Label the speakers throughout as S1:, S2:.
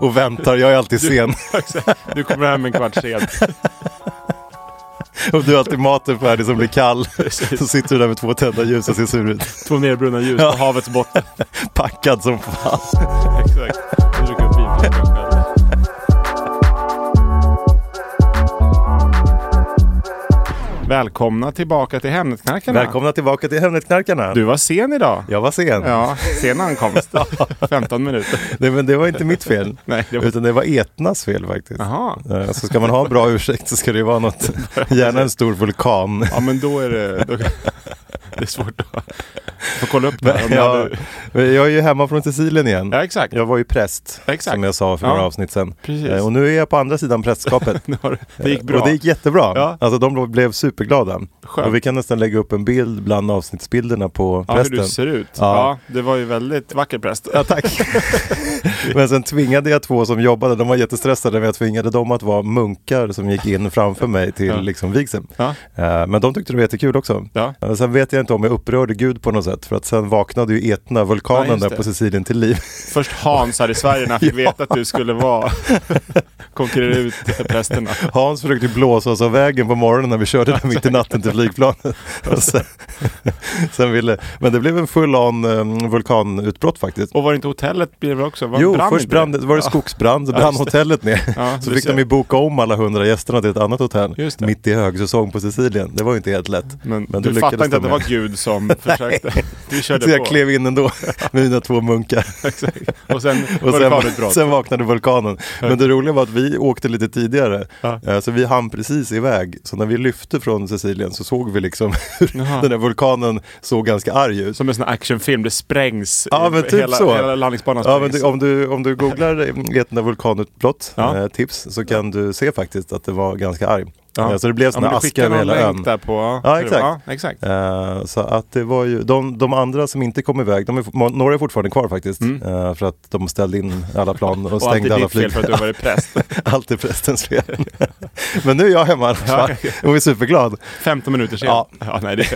S1: Och väntar, jag är alltid sen.
S2: Du kommer hem en kvart sent.
S1: Och du har alltid maten färdig som blir kall. Så sitter du där med två tända ljus och ser sur ut.
S2: Två nedbrunna ljus på havets botten.
S1: Packad som fan.
S2: Exakt. Du dricker upp vin för mig själv. Välkomna tillbaka till Hemnetknarkarna.
S1: Välkomna tillbaka till Hemnetknarkarna.
S2: Du var sen idag.
S1: Jag var sen.
S2: Ja, sen ankomst. 15 minuter.
S1: Nej, men det var inte mitt fel.
S2: Nej, det var-
S1: Utan det var Etnas fel faktiskt.
S2: Jaha.
S1: Eh, Så ska man ha en bra ursäkt så ska det ju vara något. Gärna en stor vulkan.
S2: Ja, men då är det... Då, det är svårt att... Får kolla upp det här. Om du
S1: Ja,
S2: hade-
S1: jag är ju hemma från Sicilien igen.
S2: ja, exakt.
S1: Jag var ju präst,
S2: Exakt.
S1: som jag sa för
S2: Ja.
S1: några avsnitt sedan.
S2: Precis.
S1: Eh, Och nu är jag på andra sidan prästskapet.
S2: Nu har det- Det gick bra.
S1: Och det gick jättebra.
S2: Ja.
S1: Alltså de blev superglada.
S2: Skönt.
S1: Och vi kan nästan lägga upp en bild bland avsnittsbilderna på
S2: ja, hur
S1: prästen.
S2: du ser ut.
S1: Ja.
S2: Ja. det var ju väldigt vacker präst.
S1: Ja, tack. Men sen tvingade jag två som jobbade, de var jättestressade, men jag tvingade dem att vara munkar som gick in framför mig till
S2: Ja.
S1: liksom, vigseln.
S2: Ja.
S1: Eh, Men de tyckte det var jättekul också.
S2: Ja.
S1: Eh, Sen vet jag inte om jag upprörde Gud på något sätt, för att sen vaknade ju Etna, vulkanen
S2: Ja, just
S1: där
S2: det.
S1: på Sicilien, till liv.
S2: Först Hans här i Sverige när han fick
S1: Ja.
S2: veta att du skulle vara konkurrera ut prästerna.
S1: Hans försökte blåsa oss av vägen på morgonen när vi körde där mitt i natten till flygplanet. Och sen, sen ville, men det blev en full-on um, vulkanutbrott faktiskt.
S2: Och var det inte hotellet blev det också? Var
S1: Jo,
S2: brann
S1: först
S2: inte det?
S1: brann, det- var det
S2: Ja.
S1: skogsbrand, så
S2: Ja,
S1: brann
S2: just det.
S1: hotellet ner.
S2: Ja,
S1: så
S2: du
S1: fick
S2: ser.
S1: de ju boka om alla hundra gästerna till ett annat hotell
S2: Just det.
S1: mitt i högsäsong på Sicilien. Det var ju inte helt lätt.
S2: Men,
S1: Men det
S2: du fattade
S1: lyckades
S2: inte att
S1: de
S2: det
S1: med.
S2: var Gud som försökte. Du körde
S1: Så jag
S2: på.
S1: klev in ändå med mina två munkar.
S2: Exakt. Och sen
S1: Och
S2: var
S1: sen,
S2: det farligt
S1: sen vaknade vulkanen. Men det roliga var att vi åkte lite tidigare.
S2: Ja.
S1: Eh, Så vi hann precis iväg. Så när vi lyfte från Sicilien så såg vi liksom hur
S2: Jaha.
S1: den där vulkanen såg ganska arg ut.
S2: Som en sån här actionfilm, det sprängs.
S1: Ja
S2: i-
S1: men typ
S2: hela,
S1: så.
S2: Hela landningsbanan
S1: ja,
S2: sprängs.
S1: men du, om, du, om du googlar Getna vulkanutbrott
S2: Ja.
S1: eh, tips så kan du se faktiskt att det var ganska arg.
S2: Ja.
S1: Eh, Så det blev
S2: Ja,
S1: sådana
S2: men du
S1: askar
S2: skickade
S1: över
S2: någon
S1: hela ön.
S2: länk där på...
S1: Ja, exakt.
S2: Ja, exakt.
S1: Eh, så att det var ju, de, de andra som inte kom iväg, de är, fo- några är fortfarande kvar faktiskt. eh, för att de ställde in alla plan och
S2: Mm. Och alltid
S1: stängde alla
S2: ditt fel för att du
S1: flygplan.
S2: var präst.
S1: Allt är prästens fel. Men nu är jag hemma i alla fall och är superglad.
S2: 15 minuter sen.
S1: Ja.
S2: Ja. nej, det,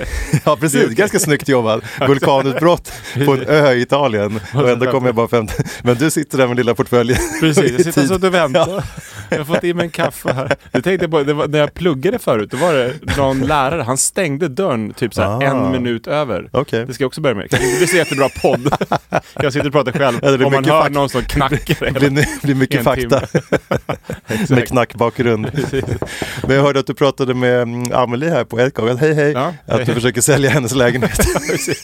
S1: Ja precis, ganska snyggt jobbat. Vulkanutbrott på en ö i Italien och ändå kommer jag bara 50. Men du sitter där med lilla portföljen.
S2: Precis, jag sitter
S1: Tid.
S2: så och väntar. Jag har fått i mig en kaffe här. Det tänkte jag på, det var, när jag pluggade förut, då var det någon lärare, han stängde dörren typ så här
S1: Ah.
S2: en minut över.
S1: Okej.
S2: Det ska jag också börja med. Det blir så jättebra podd. Jag sitter och pratar själv.
S1: Ja, det blir
S2: Om man
S1: mycket
S2: hör
S1: fakta.
S2: någon som knackar.
S1: Det
S2: hela-
S1: blir, blir mycket
S2: en
S1: fakta
S2: timme.
S1: med
S2: Exakt.
S1: knackbakgrund. Men jag hörde att du pratade med mm, Amelie här på Edcom. Hej hej!
S2: Ja,
S1: att
S2: hej,
S1: du
S2: hej.
S1: försöker sälja hennes lägenhet.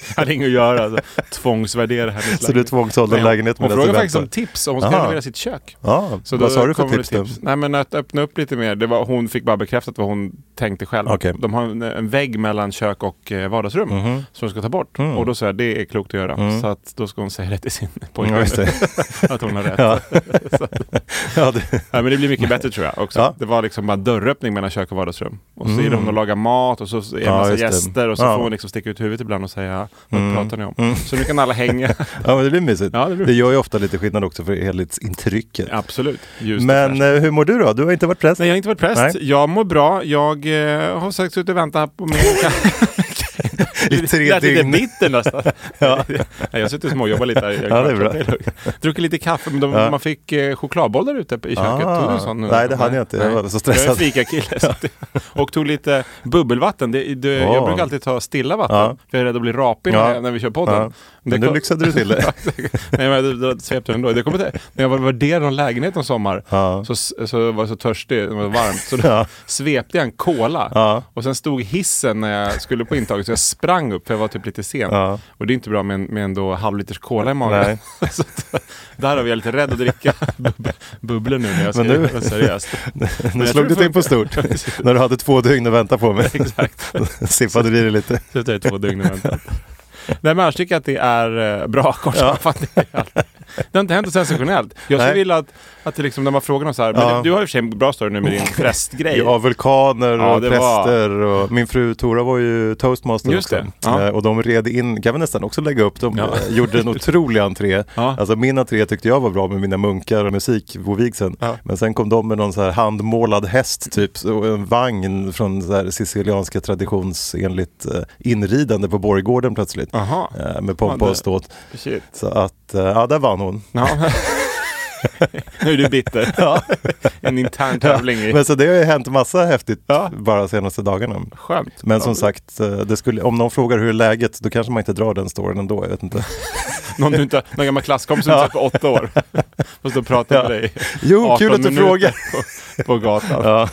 S2: Jag hade inget att göra. Alltså. Tvångsvärdera hennes
S1: Så du tvångsålde en
S2: Nej,
S1: lägenhet
S2: Hon
S1: medan
S2: frågade
S1: du
S2: faktiskt om
S1: väntar.
S2: tips, om hon skulle
S1: Aha.
S2: renovera sitt kök.
S1: Ja,
S2: Så
S1: vad
S2: då
S1: sa du för
S2: kommer det
S1: tips då?
S2: Nej men att öppna upp lite mer. Det var, hon fick bara bekräftat vad hon tänkte själv.
S1: Okej. Mhm.
S2: De har en, en vägg mellan kök och eh, vardagsrum som de ska ta bort.
S1: Mm.
S2: Och då sa jag det är klokt att göra. Så att då ska hon säga det till sin
S1: Ja,
S2: pojkvän.
S1: Mm. just det.
S2: att hon har rätt.
S1: Ja.
S2: så, att-
S1: Ja, det.
S2: nej, men det blir mycket bättre tror jag också.
S1: Ja. Mm.
S2: Det var liksom bara dörröppning mellan kök och vardagsrum. Och så är de och lagar mat och så är det
S1: Ja,
S2: en massa
S1: just det.
S2: gäster och så
S1: Ja. Mm.
S2: får hon liksom sticka ut huvudet ibland och säga vad pratar ni om? Så nu kan alla hänga.
S1: ja, men det blir mysigt.
S2: Ja, det blir-
S1: gör ju ofta lite skillnad också för helhetsintrycket.
S2: Absolut. Ljust och fräscht.
S1: Men eh, hur mår du då? Du har inte varit präst?
S2: Nej, jag har inte varit präst.
S1: Nej.
S2: Jag mår bra. Jag eh, har sagt suttit och väntat på min...
S1: i tre
S2: lät lite
S1: dygn.
S2: bitter nästan. ja. Jag har suttit och småjobbat lite här. i en
S1: Ja, det är
S2: kvart.
S1: bra.
S2: Druckit lite kaffe, men de,
S1: Ja.
S2: man fick eh, chokladbollar ute i köket.
S1: Ah.
S2: Tog du en sån?
S1: Nej, det hann jag inte. Jag
S2: Nej.
S1: var så stressad.
S2: Jag är en fikakille. så att- Och tog lite bubbelvatten. Det, det, Jag
S1: Åh.
S2: brukar alltid ta stilla vatten,
S1: Ja.
S2: för jag är rädd att bli rapig
S1: Ja.
S2: när, när vi kör podden.
S1: Ja. Men nu
S2: kom-
S1: lyxade du till det.
S2: Ja, Nej, men du- du svepte ändå. Det kommer till, när jag var- värderade en lägenhet en sommar
S1: Ja.
S2: så, så var jag så törstig, det var varmt, så då
S1: Ja.
S2: svepte jag en cola.
S1: Ja.
S2: Och sen stod hissen när jag skulle på intaget, så jag sprang upp för jag var typ lite sen.
S1: Ja.
S2: Och det är inte bra med en, med en då halvliters cola i magen. så att, där har vi lite rädd att dricka bub- bubblor nu när jag ska
S1: Men nu-
S2: göra det seriöst.
S1: Nu
S2: jag
S1: slog
S2: tror
S1: du
S2: det
S1: till på stort. När du hade två dygn att vänta på mig.
S2: Exakt.
S1: Sippade du i dig lite.
S2: Så det är två dygn och väntat. Nej men annars tycker jag att det är eh, bra kort sammanfattning. Det har inte hänt något sensationellt. Jag skulle
S1: Nej.
S2: vilja att, att det liksom, när man frågar någon så här, men
S1: Ja.
S2: du, du har ju för sig en bra story nu med din prästgrej.
S1: Ja, vulkaner
S2: Ja,
S1: och
S2: det var-
S1: präster. Och min fru Tora var ju toastmaster
S2: Just
S1: också.
S2: det. Ja.
S1: Eh, Och de red in, kan vi nästan också lägga upp, de
S2: Ja.
S1: eh, gjorde en otrolig entré.
S2: Ja.
S1: Alltså min entré tyckte jag var bra med mina munkar och musik på vigseln.
S2: Ja.
S1: Men sen kom de med någon så här handmålad häst typ så- och en vagn från så här sicilianska traditionsenligt eh, inridande på borggården plötsligt.
S2: Aha.
S1: Eh, Med pompa
S2: Ja, det-
S1: och ståt.
S2: Shit.
S1: Så att, eh, ja där vann hon.
S2: Ja. nu är du bitter. en intern tävling i
S1: Men så det har ju hänt massa häftigt
S2: Ja.
S1: bara senaste dagarna.
S2: skämt.
S1: Men som sagt, eh, det skulle, om någon frågar hur är läget, då kanske man inte drar den storyn ändå. Jag vet inte.
S2: Någon, du inte, någon gammal klasskompis som du
S1: Ja.
S2: sett på åtta år. Fast då pratar med
S1: Ja.
S2: dig
S1: Jo,
S2: 18
S1: kul att du
S2: minuter
S1: frågar.
S2: På, på gatan.
S1: Ja.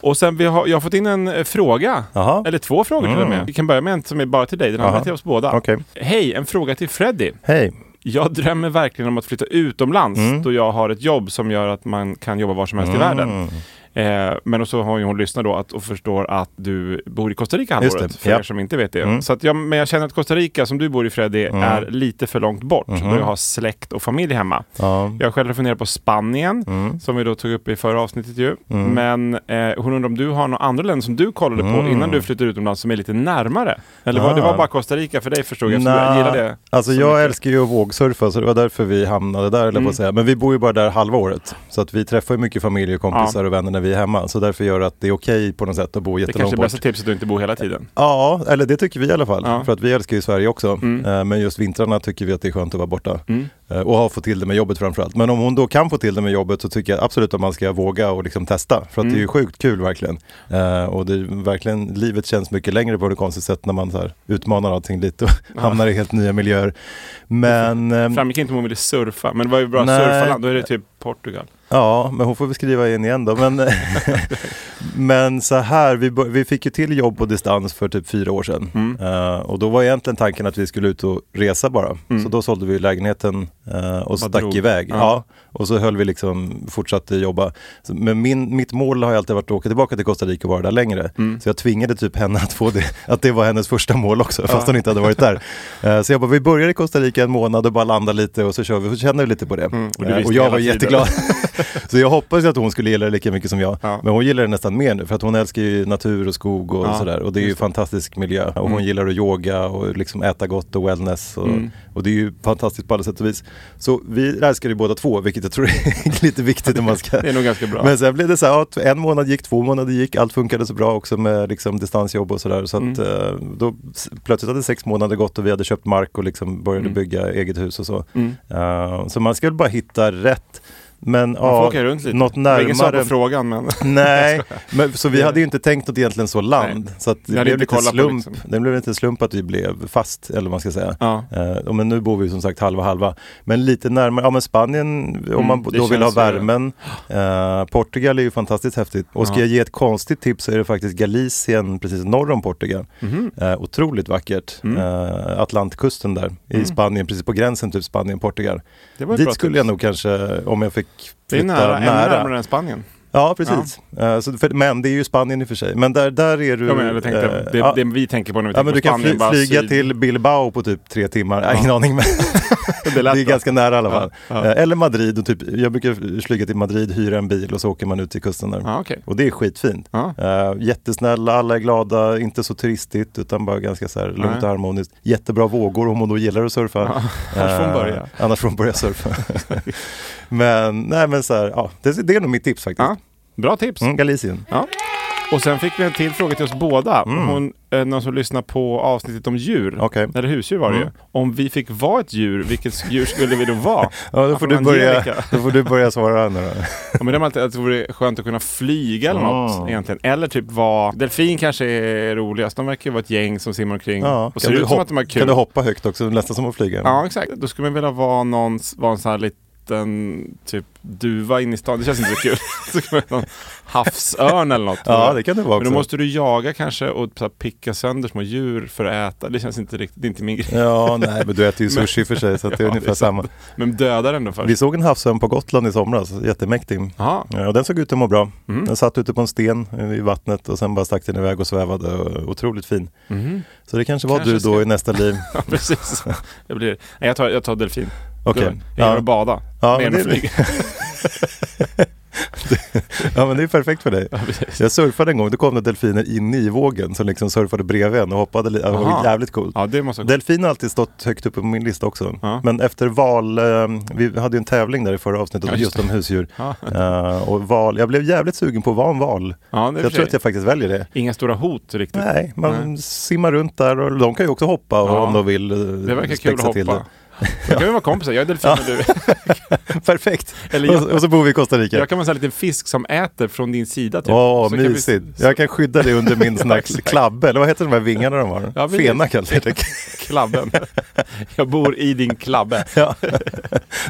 S2: Och sen vi har, jag har fått in en eh, fråga.
S1: Jaha.
S2: Eller två frågor till och med. Vi kan börja med en som är bara till dig, den andra
S1: Aha.
S2: till oss båda.
S1: Okej.
S2: Hej, en fråga till Freddy.
S1: Hej.
S2: Jag drömmer verkligen om att flytta utomlands
S1: Mm.
S2: då jag har ett jobb som gör att man kan jobba var som helst i världen. Eh, men och så har ju hon lyssnat då att, och förstår att du bor i Costa Rica
S1: Just
S2: halvåret,
S1: det,
S2: för
S1: ja. Mm.
S2: er som inte vet det. Så att jag, men jag känner att Costa Rica, som du bor i Freddy, är lite för långt bort
S1: Mm-hmm.
S2: då jag har släkt och familj hemma.
S1: Ja.
S2: Jag har själv funderat på Spanien,
S1: Mm.
S2: som vi då tog upp i förra avsnittet ju. Men eh, hon undrar om du har några andra länder som du kollade på innan du flyttade utomlands som är lite närmare? Eller var, det var
S1: Mm. Ah.
S2: bara Costa Rica för dig förstod jag, eftersom
S1: Nja,
S2: du gillar det.
S1: Alltså
S2: så
S1: jag
S2: mycket. Mm.
S1: älskar ju att vågsurfa så det var därför vi hamnade där, eller på att säga. Men vi bor ju bara där halva året. Så att vi träffar ju mycket familj och kompisar och vänner när vi är hemma. Så därför gör det att det är okej på något sätt att bo
S2: Det kanske
S1: jättelångt
S2: är
S1: bort.
S2: bästa tipset att inte bo hela tiden.
S1: Ja, eller det tycker vi i alla fall.
S2: Ja.
S1: För att vi älskar ju Sverige också. Eh, Men just vintrarna tycker vi att det är skönt att vara borta. Eh, Och ha fått till det med jobbet framförallt. Men om hon då kan få till det med jobbet så tycker jag absolut att man ska våga och liksom testa. För att det är ju sjukt kul verkligen. Eh, Och det är verkligen, livet känns mycket längre på ett konstigt sätt när man så här utmanar allting lite och hamnar i helt nya miljöer. Men, ehm,
S2: Framgick inte om hon ville surfa, men det var ju bra
S1: Nej.
S2: surfarland. Då är det typ Portugal.
S1: ja, men hon får väl skriva in igen då. Men, Men så här, vi, bör- vi fick ju till jobb på distans för typ fyra år sedan.
S2: Mm.
S1: Eh, och då var egentligen tanken att vi skulle ut och resa bara. Så då sålde vi lägenheten eh, och stack
S2: Mm. drog.
S1: iväg.
S2: Ja.
S1: Ja. och så höll vi liksom, fortsatte jobba. Så, men min, mitt mål har ju alltid varit att åka tillbaka till Costa Rica och vara där längre.
S2: Mm.
S1: Så jag tvingade typ henne att få det, att det var hennes första mål också, fast hon inte hade varit där. Eh, så jag bara, vi börjar i Costa Rica en månad och bara landar lite och så kör vi, så känner vi lite på det.
S2: Mm. och du
S1: Eh,
S2: visste
S1: och jag
S2: hela
S1: var
S2: tiden.
S1: jätteglad. så jag hoppas ju att hon skulle gilla det lika mycket som jag.
S2: Ja.
S1: Men hon gillar det nästan mer nu för att hon älskar ju natur och skog och
S2: Ja, Mm.
S1: sådär. Och det är ju fantastisk miljö. Och hon gillar att yoga och liksom äta gott och wellness. Och, och det är ju fantastiskt på alla sätt och vis. Så vi älskar ju båda två, vilket jag tror är lite viktigt om man ska...
S2: Det är nog ganska bra.
S1: Men sen blev det så här, att en månad gick, två månader gick, allt funkade så bra också med liksom distansjobb och sådär. Så
S2: Mm.
S1: att eh, då s- plötsligt hade sex månader gått och vi hade köpt mark och liksom började
S2: Mm.
S1: bygga eget hus och så. Eh, så man ska väl bara hitta rätt. Men
S2: Man får
S1: ja,
S2: åka runt lite.
S1: något
S2: Det var Ingen svar på
S1: närmare.
S2: frågan, men
S1: Nej, men, så vi hade ju inte tänkt något egentligen så land.
S2: Nej.
S1: Så att
S2: Ni hade
S1: det, blev
S2: inte
S1: lite
S2: kollat på
S1: slump.
S2: liksom.
S1: det blev lite slump att vi blev fast, eller vad man ska säga.
S2: Ja.
S1: Eh, och men nu bor vi som sagt halva halva. Men lite närmare, ja men Spanien, om man
S2: Mm, det
S1: då vill ha
S2: känns ju-
S1: värmen. Eh, Portugal är ju fantastiskt häftigt. Och ska jag ge ett konstigt tips så är det faktiskt Galicien, precis norr om Portugal.
S2: Mhm.
S1: Eh, otroligt vackert.
S2: Mm.
S1: Eh, Atlantkusten där, i Spanien, precis på gränsen typ Spanien-Portugal.
S2: Det var ett bra
S1: Dit skulle jag
S2: tips.
S1: nog kanske, om jag fick
S2: det är
S1: flytta
S2: nära, ännu närmare än Spanien.
S1: Ja, precis. Eh, så för, men det är ju Spanien i och för sig. Men där, där är du...
S2: Jag menar, jag tänkte,
S1: eh,
S2: det,
S1: ja.
S2: det vi tänker på när vi
S1: Ja,
S2: tänker
S1: men
S2: på
S1: du kan
S2: Spanien.
S1: fly,
S2: bara
S1: flyga
S2: syd-
S1: till Bilbao på typ tre timmar. Ja. Ingen aning, men
S2: Det lät
S1: det är
S2: bra.
S1: ganska nära i alla
S2: Ja,
S1: fall.
S2: ja.
S1: Eh, Eller Madrid. Och typ, jag brukar flyga till Madrid, hyra en bil och så åker man ut till kusten där.
S2: Ja, okej.
S1: Och det är skitfint.
S2: Ja.
S1: Eh, jättesnälla, alla är glada, inte så turistigt utan bara ganska så här lugnt
S2: Nej.
S1: och harmoniskt. Jättebra vågor om hon då gillar att surfa.
S2: annars får hon
S1: Eh,
S2: börja.
S1: Annars får hon börja surfa. men nej, men så här, ja, det, det är nog mitt tips faktiskt.
S2: Ja, bra tips.
S1: Mm, Galicien.
S2: Ja. Och sen fick vi en till fråga till oss båda. Hon, eh, någon som lyssnar på avsnittet om djur,
S1: Mm. Okej. Mm.
S2: eller husdjur var det ju. Om vi fick vara ett djur, vilket djur skulle vi då vara?
S1: Ja, då får, du
S2: Från
S1: börja,
S2: Angelica.
S1: då får du börja svara nu då.
S2: Ja, men det, är alltid, att det vore skönt att kunna flyga eller
S1: Ah.
S2: något egentligen. Eller typ vara... Delfin kanske är roligast. De verkar ju vara ett gäng som simmar omkring
S1: Ja.
S2: och ser
S1: Kan,
S2: ut
S1: du
S2: som
S1: hoppa,
S2: att de har kul.
S1: kan du hoppa högt också, nästan som att flyga?
S2: Ja, exakt. Då skulle man vilja vara någon, vara en sån här liten typ duva inne i stan. Det känns inte så kul. så kan man vara någon havsörn eller något.
S1: Ja, det kan det vara
S2: Men då
S1: också.
S2: måste du jaga kanske och så här, picka sönder små djur för att äta. Det känns inte riktigt, det är inte min grej.
S1: Ja, nej, men du äter ju sushi för sig så att det är
S2: Ja,
S1: ungefär
S2: det är sant.
S1: samma.
S2: Men döda den då först.
S1: Vi såg en havsörn på Gotland i somras, jättemäktig.
S2: Ja.
S1: Ja, och den såg ut att må bra.
S2: Mm.
S1: Den satt ute på en sten eh, i vattnet och sen bara stack den iväg och svävade. Och otroligt fin. Så det kanske var
S2: Mm. Kanske
S1: du då
S2: ska-
S1: i nästa liv.
S2: Ja, precis. Jag, blir, nej, jag, tar, jag tar delfin.
S1: Okej.
S2: Jag gillar att bada.
S1: Ja,
S2: mer än
S1: men
S2: att
S1: det är-
S2: flyga.
S1: Ja men det är perfekt för dig.
S2: precis.
S1: jag surfade en gång, då kom det delfiner inne i vågen som liksom surfade bredvid en och hoppade lite. Det var
S2: Aha.
S1: jävligt coolt.
S2: Ja, det måste
S1: Delfin har alltid stått högt uppe på min lista också.
S2: Ja.
S1: Men efter val, eh, vi hade ju en tävling där i förra avsnittet
S2: Ja, just
S1: just om husdjur.
S2: Ja.
S1: Eh, och val, jag blev jävligt sugen på att vara en val.
S2: Ja, det är
S1: jag
S2: för sig.
S1: tror att jag faktiskt väljer det.
S2: Inga stora hot riktigt.
S1: Nej, man simmar runt där och de kan ju också hoppa
S2: Ja.
S1: om de vill. eh,
S2: Det verkar kul att
S1: spexa till
S2: hoppa. Då kan vi vara kompisar. Jag är delfin och du.
S1: det. Perfekt!
S2: Eller jag-
S1: och, så- och så bor vi i Costa Rica.
S2: Jag kan vara en sån här liten fisk som äter från din sida. Typ.
S1: Åh,
S2: Så kan vi-
S1: mysigt. Jag kan skydda dig under min sån här
S2: exakt.
S1: klabbe, eller vad heter de här vingarna de har?
S2: Ja, precis.
S1: Fena kallar det.
S2: Klabben. Jag bor i din klabbe.
S1: Ja.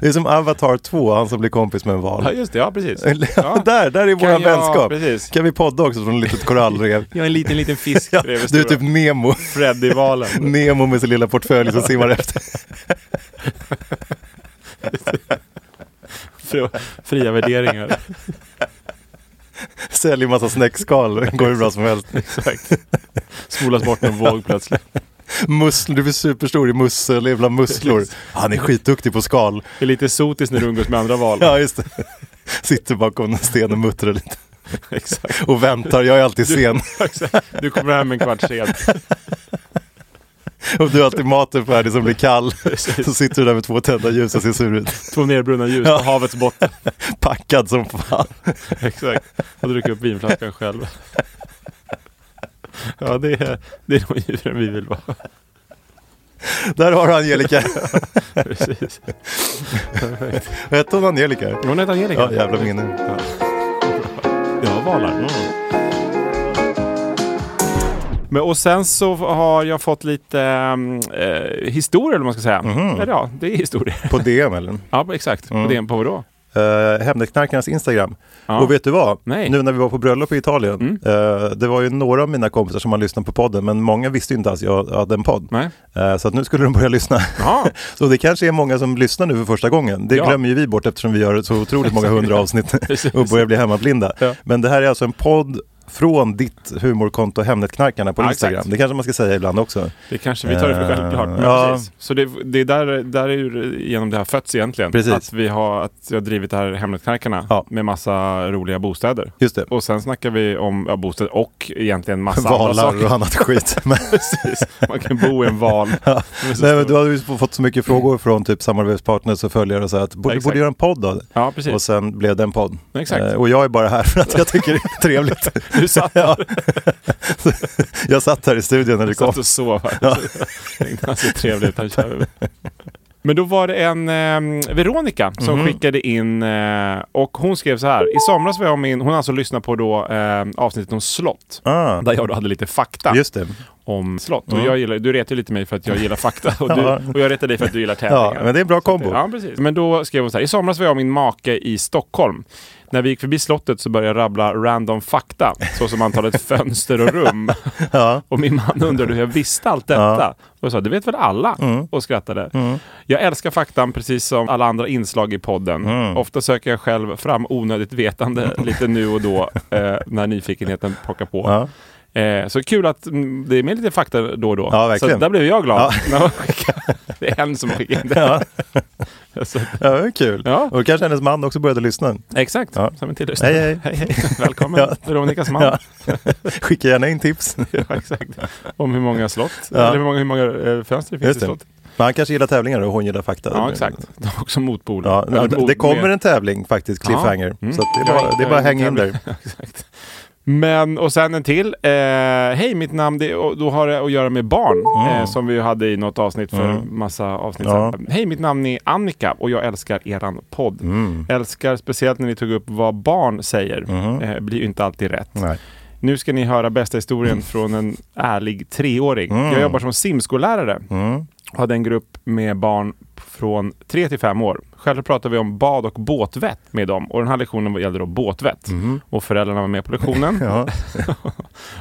S1: Det är som Avatar 2, han som blir kompis med en val.
S2: Ja, just det. Ja, precis.
S1: Ja. där, där är
S2: Kan
S1: våran
S2: jag-
S1: vänskap.
S2: precis.
S1: Kan vi podda också från ett litet korallrev?
S2: Jag är en liten, liten fisk
S1: Ja,
S2: bredvid
S1: du är
S2: stora
S1: typ Nemo.
S2: Freddy-valen.
S1: Nemo med sin lilla portfölj som simmar efter.
S2: Fri- Fria värderingar.
S1: Säljer massa snäckskal. Det går hur bra som helst.
S2: Exakt. Spolas bort en våg plötsligt.
S1: Musslor, du blir superstor i mussel, ibland musslor. Han är skitduktig på skal.
S2: Det är lite sotiskt när du umgås med andra val.
S1: Ja, just det. Sitter bakom en sten och muttrar lite.
S2: Exakt.
S1: Och väntar, jag är alltid sen.
S2: Exakt. Du kommer hem en kvart sent.
S1: Och du har alltid maten färdig som blir kall. Så sitter du där med två tända ljus och ser sur ut.
S2: Två nedbrunna ljus
S1: Ja.
S2: på havets botten.
S1: Packad som fan.
S2: Exakt. Och dricker upp vinflaskan själv. Ja, det är, det är de djuren vi vill vara.
S1: Där har du Angelica.
S2: Precis. Perfekt.
S1: Hette hon Angelica?
S2: Hon heter Angelica.
S1: Ja, jävla minne.
S2: Ja. Ja, valar. Men, och sen så har jag fått lite ehm, eh, historier, eller vad man ska säga. Eller ja, det är historier.
S1: På DM eller?
S2: Mhm. Ja, exakt. På DN på vadå?
S1: Uh, Hemnetknarkarnas Instagram.
S2: Ja.
S1: Och vet du vad?
S2: Nej. Mm.
S1: Nu när vi var på bröllop i Italien. eh, det var ju några av mina kompisar som har lyssnat på podden, men många visste ju inte att jag hade en podd.
S2: Nej.
S1: Eh, så att nu skulle de börja lyssna.
S2: Ja.
S1: så det kanske är många som lyssnar nu för första gången. Det
S2: Ja.
S1: glömmer ju vi bort eftersom vi gör så otroligt många hundra avsnitt och börjar bli hemmablinda.
S2: Ja.
S1: Men det här är alltså en podd från ditt humorkonto Hemnetknarkarna på
S2: Ja,
S1: Instagram.
S2: exakt.
S1: Det kanske man ska säga ibland också.
S2: Det kanske vi tar det för
S1: Eh,
S2: självklart. Men
S1: ja.
S2: precis. Så det, det är där, där är ju genom det här fötts egentligen.
S1: Precis.
S2: Att, vi har, att jag har drivit det här Hemnetknarkarna
S1: Ja.
S2: med massa roliga bostäder.
S1: Just det.
S2: Och sen snackar vi om ja, bostäder och egentligen massa andra
S1: Valar
S2: saker.
S1: och annat skit. Men,
S2: Precis. Man kan bo i en val. Den är så
S1: nej, men
S2: stor.
S1: du har ju fått så mycket frågor från typ samarbetspartners och följare och så här att borde,
S2: Exakt.
S1: borde göra en podd då?
S2: Ja, precis.
S1: Och sen blev det en podd.
S2: Exakt.
S1: Eh, och jag är bara här för att jag tycker det är trevligt.
S2: Du satt där.
S1: ja. jag satt här i studion när du
S2: Jag
S1: kom.
S2: satt och sov här. Tänkte, Han ser trevlig ut, han kör. Men då var det en eh, Veronica som
S1: Mhm.
S2: skickade in eh, och hon skrev så här. I somras var jag min, hon har alltså lyssnat på då eh, avsnittet om slott.
S1: Ah,
S2: Där jag då hade lite fakta
S1: just det. Mm.
S2: om slott. Och jag gillar, du retar ju lite mig för att jag gillar fakta och, du,
S1: Ja.
S2: och jag retar dig för att du gillar tävlingar.
S1: Ja, men det är en bra kombo.
S2: Ja, precis. Men då skrev hon så här. I somras var jag och min make i Stockholm. När vi gick förbi slottet så började jag rabbla random fakta, såsom antalet fönster och rum. Och min man undrade hur jag visste allt detta. Och jag sa, det vet väl alla?
S1: Mm.
S2: Och skrattade. Jag älskar faktan precis som alla andra inslag i podden.
S1: Mm.
S2: Ofta söker jag själv fram onödigt vetande lite nu och då eh, när nyfikenheten pockar på. Eh, så kul att mm, det är med lite fakta då och då.
S1: Ja,
S2: så
S1: verkligen.
S2: där blev jag glad. När hon skickade- det är en som skickade in det.
S1: Ja.
S2: Så att-
S1: Ja, det är kul.
S2: Ja.
S1: Och kanske hennes man också började lyssna.
S2: Exakt,
S1: Ja.
S2: som en till lyssnare.
S1: Hej, hej.
S2: Välkommen
S1: Ja.
S2: Veronicas man.
S1: Ja. Skicka gärna in tips.
S2: Ja, exakt. Om hur många slott,
S1: Ja.
S2: eller hur många, hur många eh, fönster det finns
S1: Just
S2: i
S1: det.
S2: slott.
S1: Men han kanske gillar tävlingar och hon gillar fakta.
S2: Ja, exakt. De har också motpoler.
S1: Ja,
S2: Eller
S1: det
S2: mot-
S1: kommer
S2: med-
S1: en tävling faktiskt, Cliffhanger.
S2: Ja. Mm.
S1: Så att det är
S2: Jag
S1: bara, det är bara
S2: jag
S1: häng in
S2: tävling.
S1: där.
S2: Ja, exakt. Men, och sen en till. Eh, Hej, mitt namn, det, och då har det att göra med barn. Eh, som vi hade i något avsnitt för massa avsnitt
S1: Mm. Ja.
S2: sedan. Hej, mitt namn är Annika och jag älskar eran podd.
S1: Mm.
S2: Älskar speciellt när ni tog upp vad barn säger. Eh, blir ju inte alltid rätt.
S1: Nej.
S2: Nu ska ni höra bästa historien från en ärlig treåring. Jag jobbar som simskollärare och hade en grupp med barn från 3 till 5 år. Själv pratade vi om bad och båtvett med dem och den här lektionen gällde då båtvett. Och föräldrarna var med på lektionen.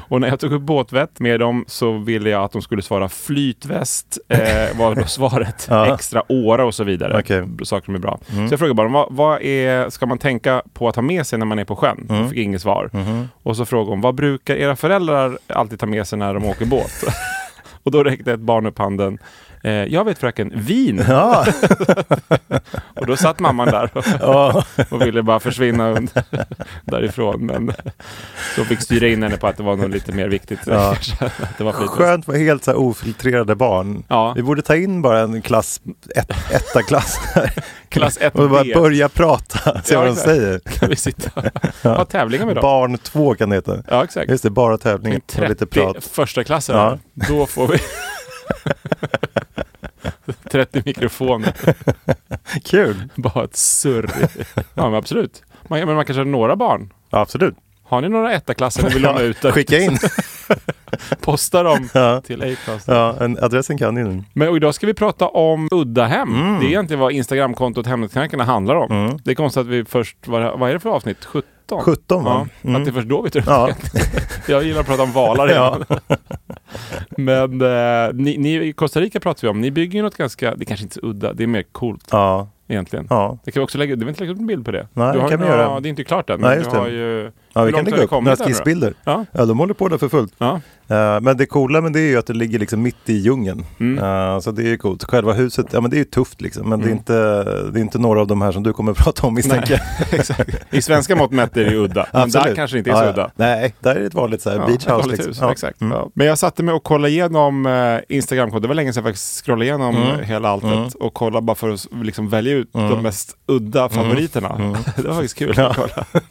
S2: och när jag tog upp båtvett med dem så ville jag att de skulle svara flytväst, eh, var då svaret. Extra åra och så vidare.
S1: Okej.
S2: Saker som är bra.
S1: Mm.
S2: Så jag frågade bara, vad, vad är, ska man tänka på att ha med sig när man är på sjön?
S1: Mm.
S2: Jag fick inget svar.
S1: Mm-hmm.
S2: Och så frågade hon, vad brukar era föräldrar alltid ta med sig när de åker båt? och då räckte ett barn upp handen. Eh, jag vet fröken, vin.
S1: Ja,
S2: Och då satt mamman där
S1: ja.
S2: och ville bara försvinna und- därifrån. Men så fick styra in henne på att det var något lite mer viktigt.
S1: Ja.
S2: det var flytväst.
S1: Skönt med helt så här ofiltrerade barn.
S2: Ja.
S1: Vi borde ta in bara en klass, ett, etta klass här.
S2: Klass ett
S1: Och bara
S2: B.
S1: börja prata, se
S2: Ja,
S1: vad de
S2: exakt.
S1: säger.
S2: Kan vi sitta och ha tävlingar med dem?
S1: Barn 2 kan det heta.
S2: Ja, exakt.
S1: Just det, bara tävling och lite
S2: 30
S1: prat.
S2: första klasser
S1: Ja.
S2: Då får vi 30 mikrofoner.
S1: Kul!
S2: Bara ett surr. Ja, men absolut. Man, men man kanske har några barn.
S1: Ja, absolut.
S2: Har ni några ettaklasser ni vill låna ut? där?
S1: Skicka in.
S2: Posta dem
S1: Ja.
S2: till Acast.
S1: Ja, en, adressen kan ni nu.
S2: Men och idag ska vi prata om udda hem.
S1: Mm.
S2: Det är egentligen vad Instagramkontot Hemnetknarkarna handlar om. Det är konstigt att vi först, vad, vad är det för avsnitt? 17?
S1: 17, va? Mm.
S2: Ja, Att det är först då vi tror
S1: Ja.
S2: Jag gillar att prata om valar
S1: Ja.
S2: innan. Men eh, ni, ni, i Costa Rica pratar vi om, ni bygger ju något ganska, det kanske inte är så udda, det är mer coolt
S1: Ja,
S2: egentligen.
S1: ja.
S2: Det kan vi också lägga, du har inte lagt upp en bild på det?
S1: Nej,
S2: du har,
S1: kan vi
S2: ja,
S1: göra.
S2: Det är inte klart än, men
S1: Nej,
S2: Nej,
S1: just
S2: du
S1: det.
S2: har ju...
S1: ja
S2: hur
S1: vi kan
S2: långt
S1: lägga
S2: har du
S1: upp några
S2: kommit där nu då?
S1: skissbilder.
S2: Ja,
S1: Ja, de håller på där för fullt.
S2: ja.
S1: Eh, men det coola med det är ju att det ligger liksom mitt i djungeln.
S2: Mm.
S1: Eh, så det är ju coolt. Själva huset, ja men det är ju tufft liksom. Men det, är inte, det är inte några av de här som du kommer att prata om misstänker jag.
S2: exakt. I svenska mått mätt är det ju udda, men där
S1: Absolut.
S2: kanske det inte är
S1: Ja,
S2: så
S1: ja.
S2: udda.
S1: Nej, där är det ett vanligt så här
S2: Ja,
S1: beach
S2: ett
S1: house.
S2: vanligt
S1: Liksom.
S2: hus,
S1: Ja.
S2: Exakt. Ja. Mm. Men jag satte mig och kollade igenom eh, Instagramkontot. Det var länge sedan jag faktiskt scrollade igenom eh, hela alltet och kollade bara för att s- liksom, välja ut de mest udda favoriterna. det var faktiskt kul att kolla.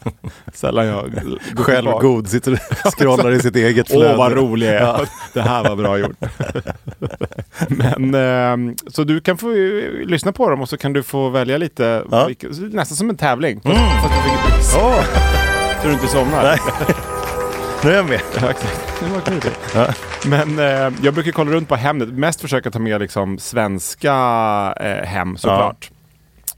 S2: Sällan jag l- går tillbaka.
S1: Självgod, sitter och scrollar i sitt eget
S2: Åh
S1: flöde.
S2: vad rolig jag är. Det här var bra gjort. Men, ehm, så du kan få eh, lyssna på dem och så kan du få välja lite.
S1: Ja.
S2: vilka- så det är nästan som en tävling. Fast, fast du fick ett
S1: Åh,
S2: så du inte somnar.
S1: nu är jag med.
S2: Ja, exakt. Det var kul. Men eh, jag brukar kolla runt på Hemnet. Mest försöka ta med liksom, svenska eh, hem såklart.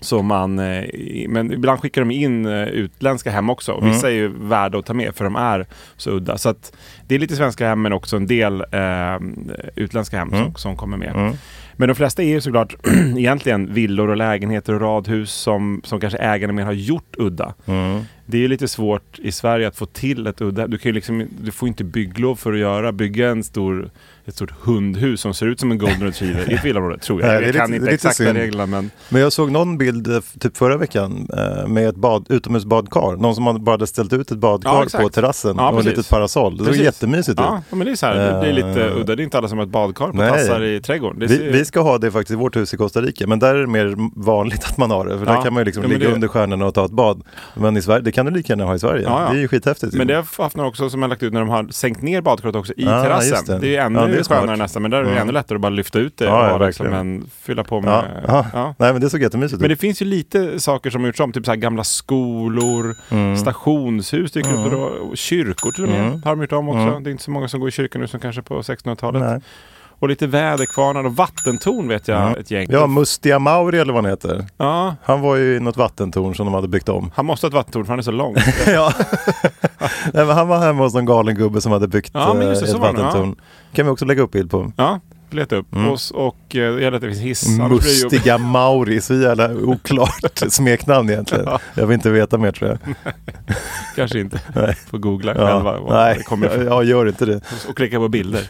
S2: Så man, eh, i- men ibland skickar de in eh, utländska hem också. Och Vissa är ju värda att ta med för de är så udda. Så att, det är lite svenska hem men också en del eh, utländska hem som, som kommer med. Men de flesta är ju såklart egentligen villor och lägenheter och radhus som, som kanske ägarna mer har gjort udda.
S1: Mm.
S2: Det är ju lite svårt i Sverige att få till ett udda. Du, kan ju liksom, du får ju inte bygglov för att göra, bygga en stor, ett stort hundhus som ser ut som en golden retriever i ett villaområde, tror jag.
S1: Nej, det är
S2: jag kan
S1: lite-
S2: inte
S1: det är lite
S2: exakta
S1: synd.
S2: reglerna men...
S1: Men jag såg någon bild eh, typ förra veckan eh, med ett bad, utomhusbadkar. Någon som hade bara hade ställt ut ett
S2: Ja,
S1: badkar
S2: exakt.
S1: på terrassen
S2: Ja,
S1: och ett
S2: precis.
S1: litet parasoll. Det såg
S2: Precis.
S1: jättemysigt ut.
S2: Ja, men det är så här, det blir lite udda. Det är inte alla som har ett badkar på
S1: Nej.
S2: tassar i trädgården. Det
S1: Vi,
S2: ser-
S1: vi ska ha det faktiskt i vårt hus i Costa Rica, men där är det mer vanligt att man har det. För
S2: Ja.
S1: där kan man ju liksom
S2: Ja, men
S1: ligga
S2: det-
S1: under stjärnorna och ta ett bad. Men i Sverige, det kan du lika gärna ha i Sverige.
S2: Ja, ja.
S1: Det är ju skithäftigt. ju.
S2: Men det har jag haft några också som jag lagt ut när de har sänkt ner badkaret också i
S1: Ah,
S2: terrassen.
S1: just
S2: Det.
S1: det.
S2: är ju ännu
S1: Ja, det är smart.
S2: skönare nästan, men där är det ännu lättare att bara lyfta ut det
S1: Ja, ja,
S2: och ha liksom
S1: verkligen.
S2: en, fylla på
S1: ja.
S2: med...
S1: Ja.
S2: Ja.
S1: Nej, men det såg jättemysigt
S2: Men
S1: ut.
S2: det finns ju lite saker som har gjorts om, typ så här gamla skolor,
S1: Mm.
S2: stationshus dyker upp och, då, och kyrkor till och med har de gjort om också. Det är inte så många som går i kyrkan nu som kanske på 1600-talet.
S1: Mm. Nej. Mm.
S2: Och lite väderkvarnar och vattentorn vet jag ett gäng.
S1: Ja, Mustia Mauri eller vad han heter.
S2: Ja,
S1: Han var ju i något vattentorn som de hade byggt om.
S2: han måste ha ett vattentorn för han är så lång.
S1: ja. Nej, men han var hemma hos någon galen gubbe som hade byggt
S2: Ja, men just det,
S1: eh,
S2: så
S1: ett
S2: var han,
S1: vattentorn. kan vi också lägga upp bild på.
S2: ja, leta upp.
S1: Mm.
S2: Och, s- och eh, det gäller att det finns hiss. annars blir det ju-
S1: Mustiga Mauri, så jävla oklart smeknamn egentligen. Jag vill inte veta mer tror jag.
S2: Kanske inte.
S1: Nej.
S2: Får googla själva
S1: Ja.
S2: vad det
S1: Nej,
S2: kommer ifrån.
S1: ja, gör inte det.
S2: och klicka på bilder.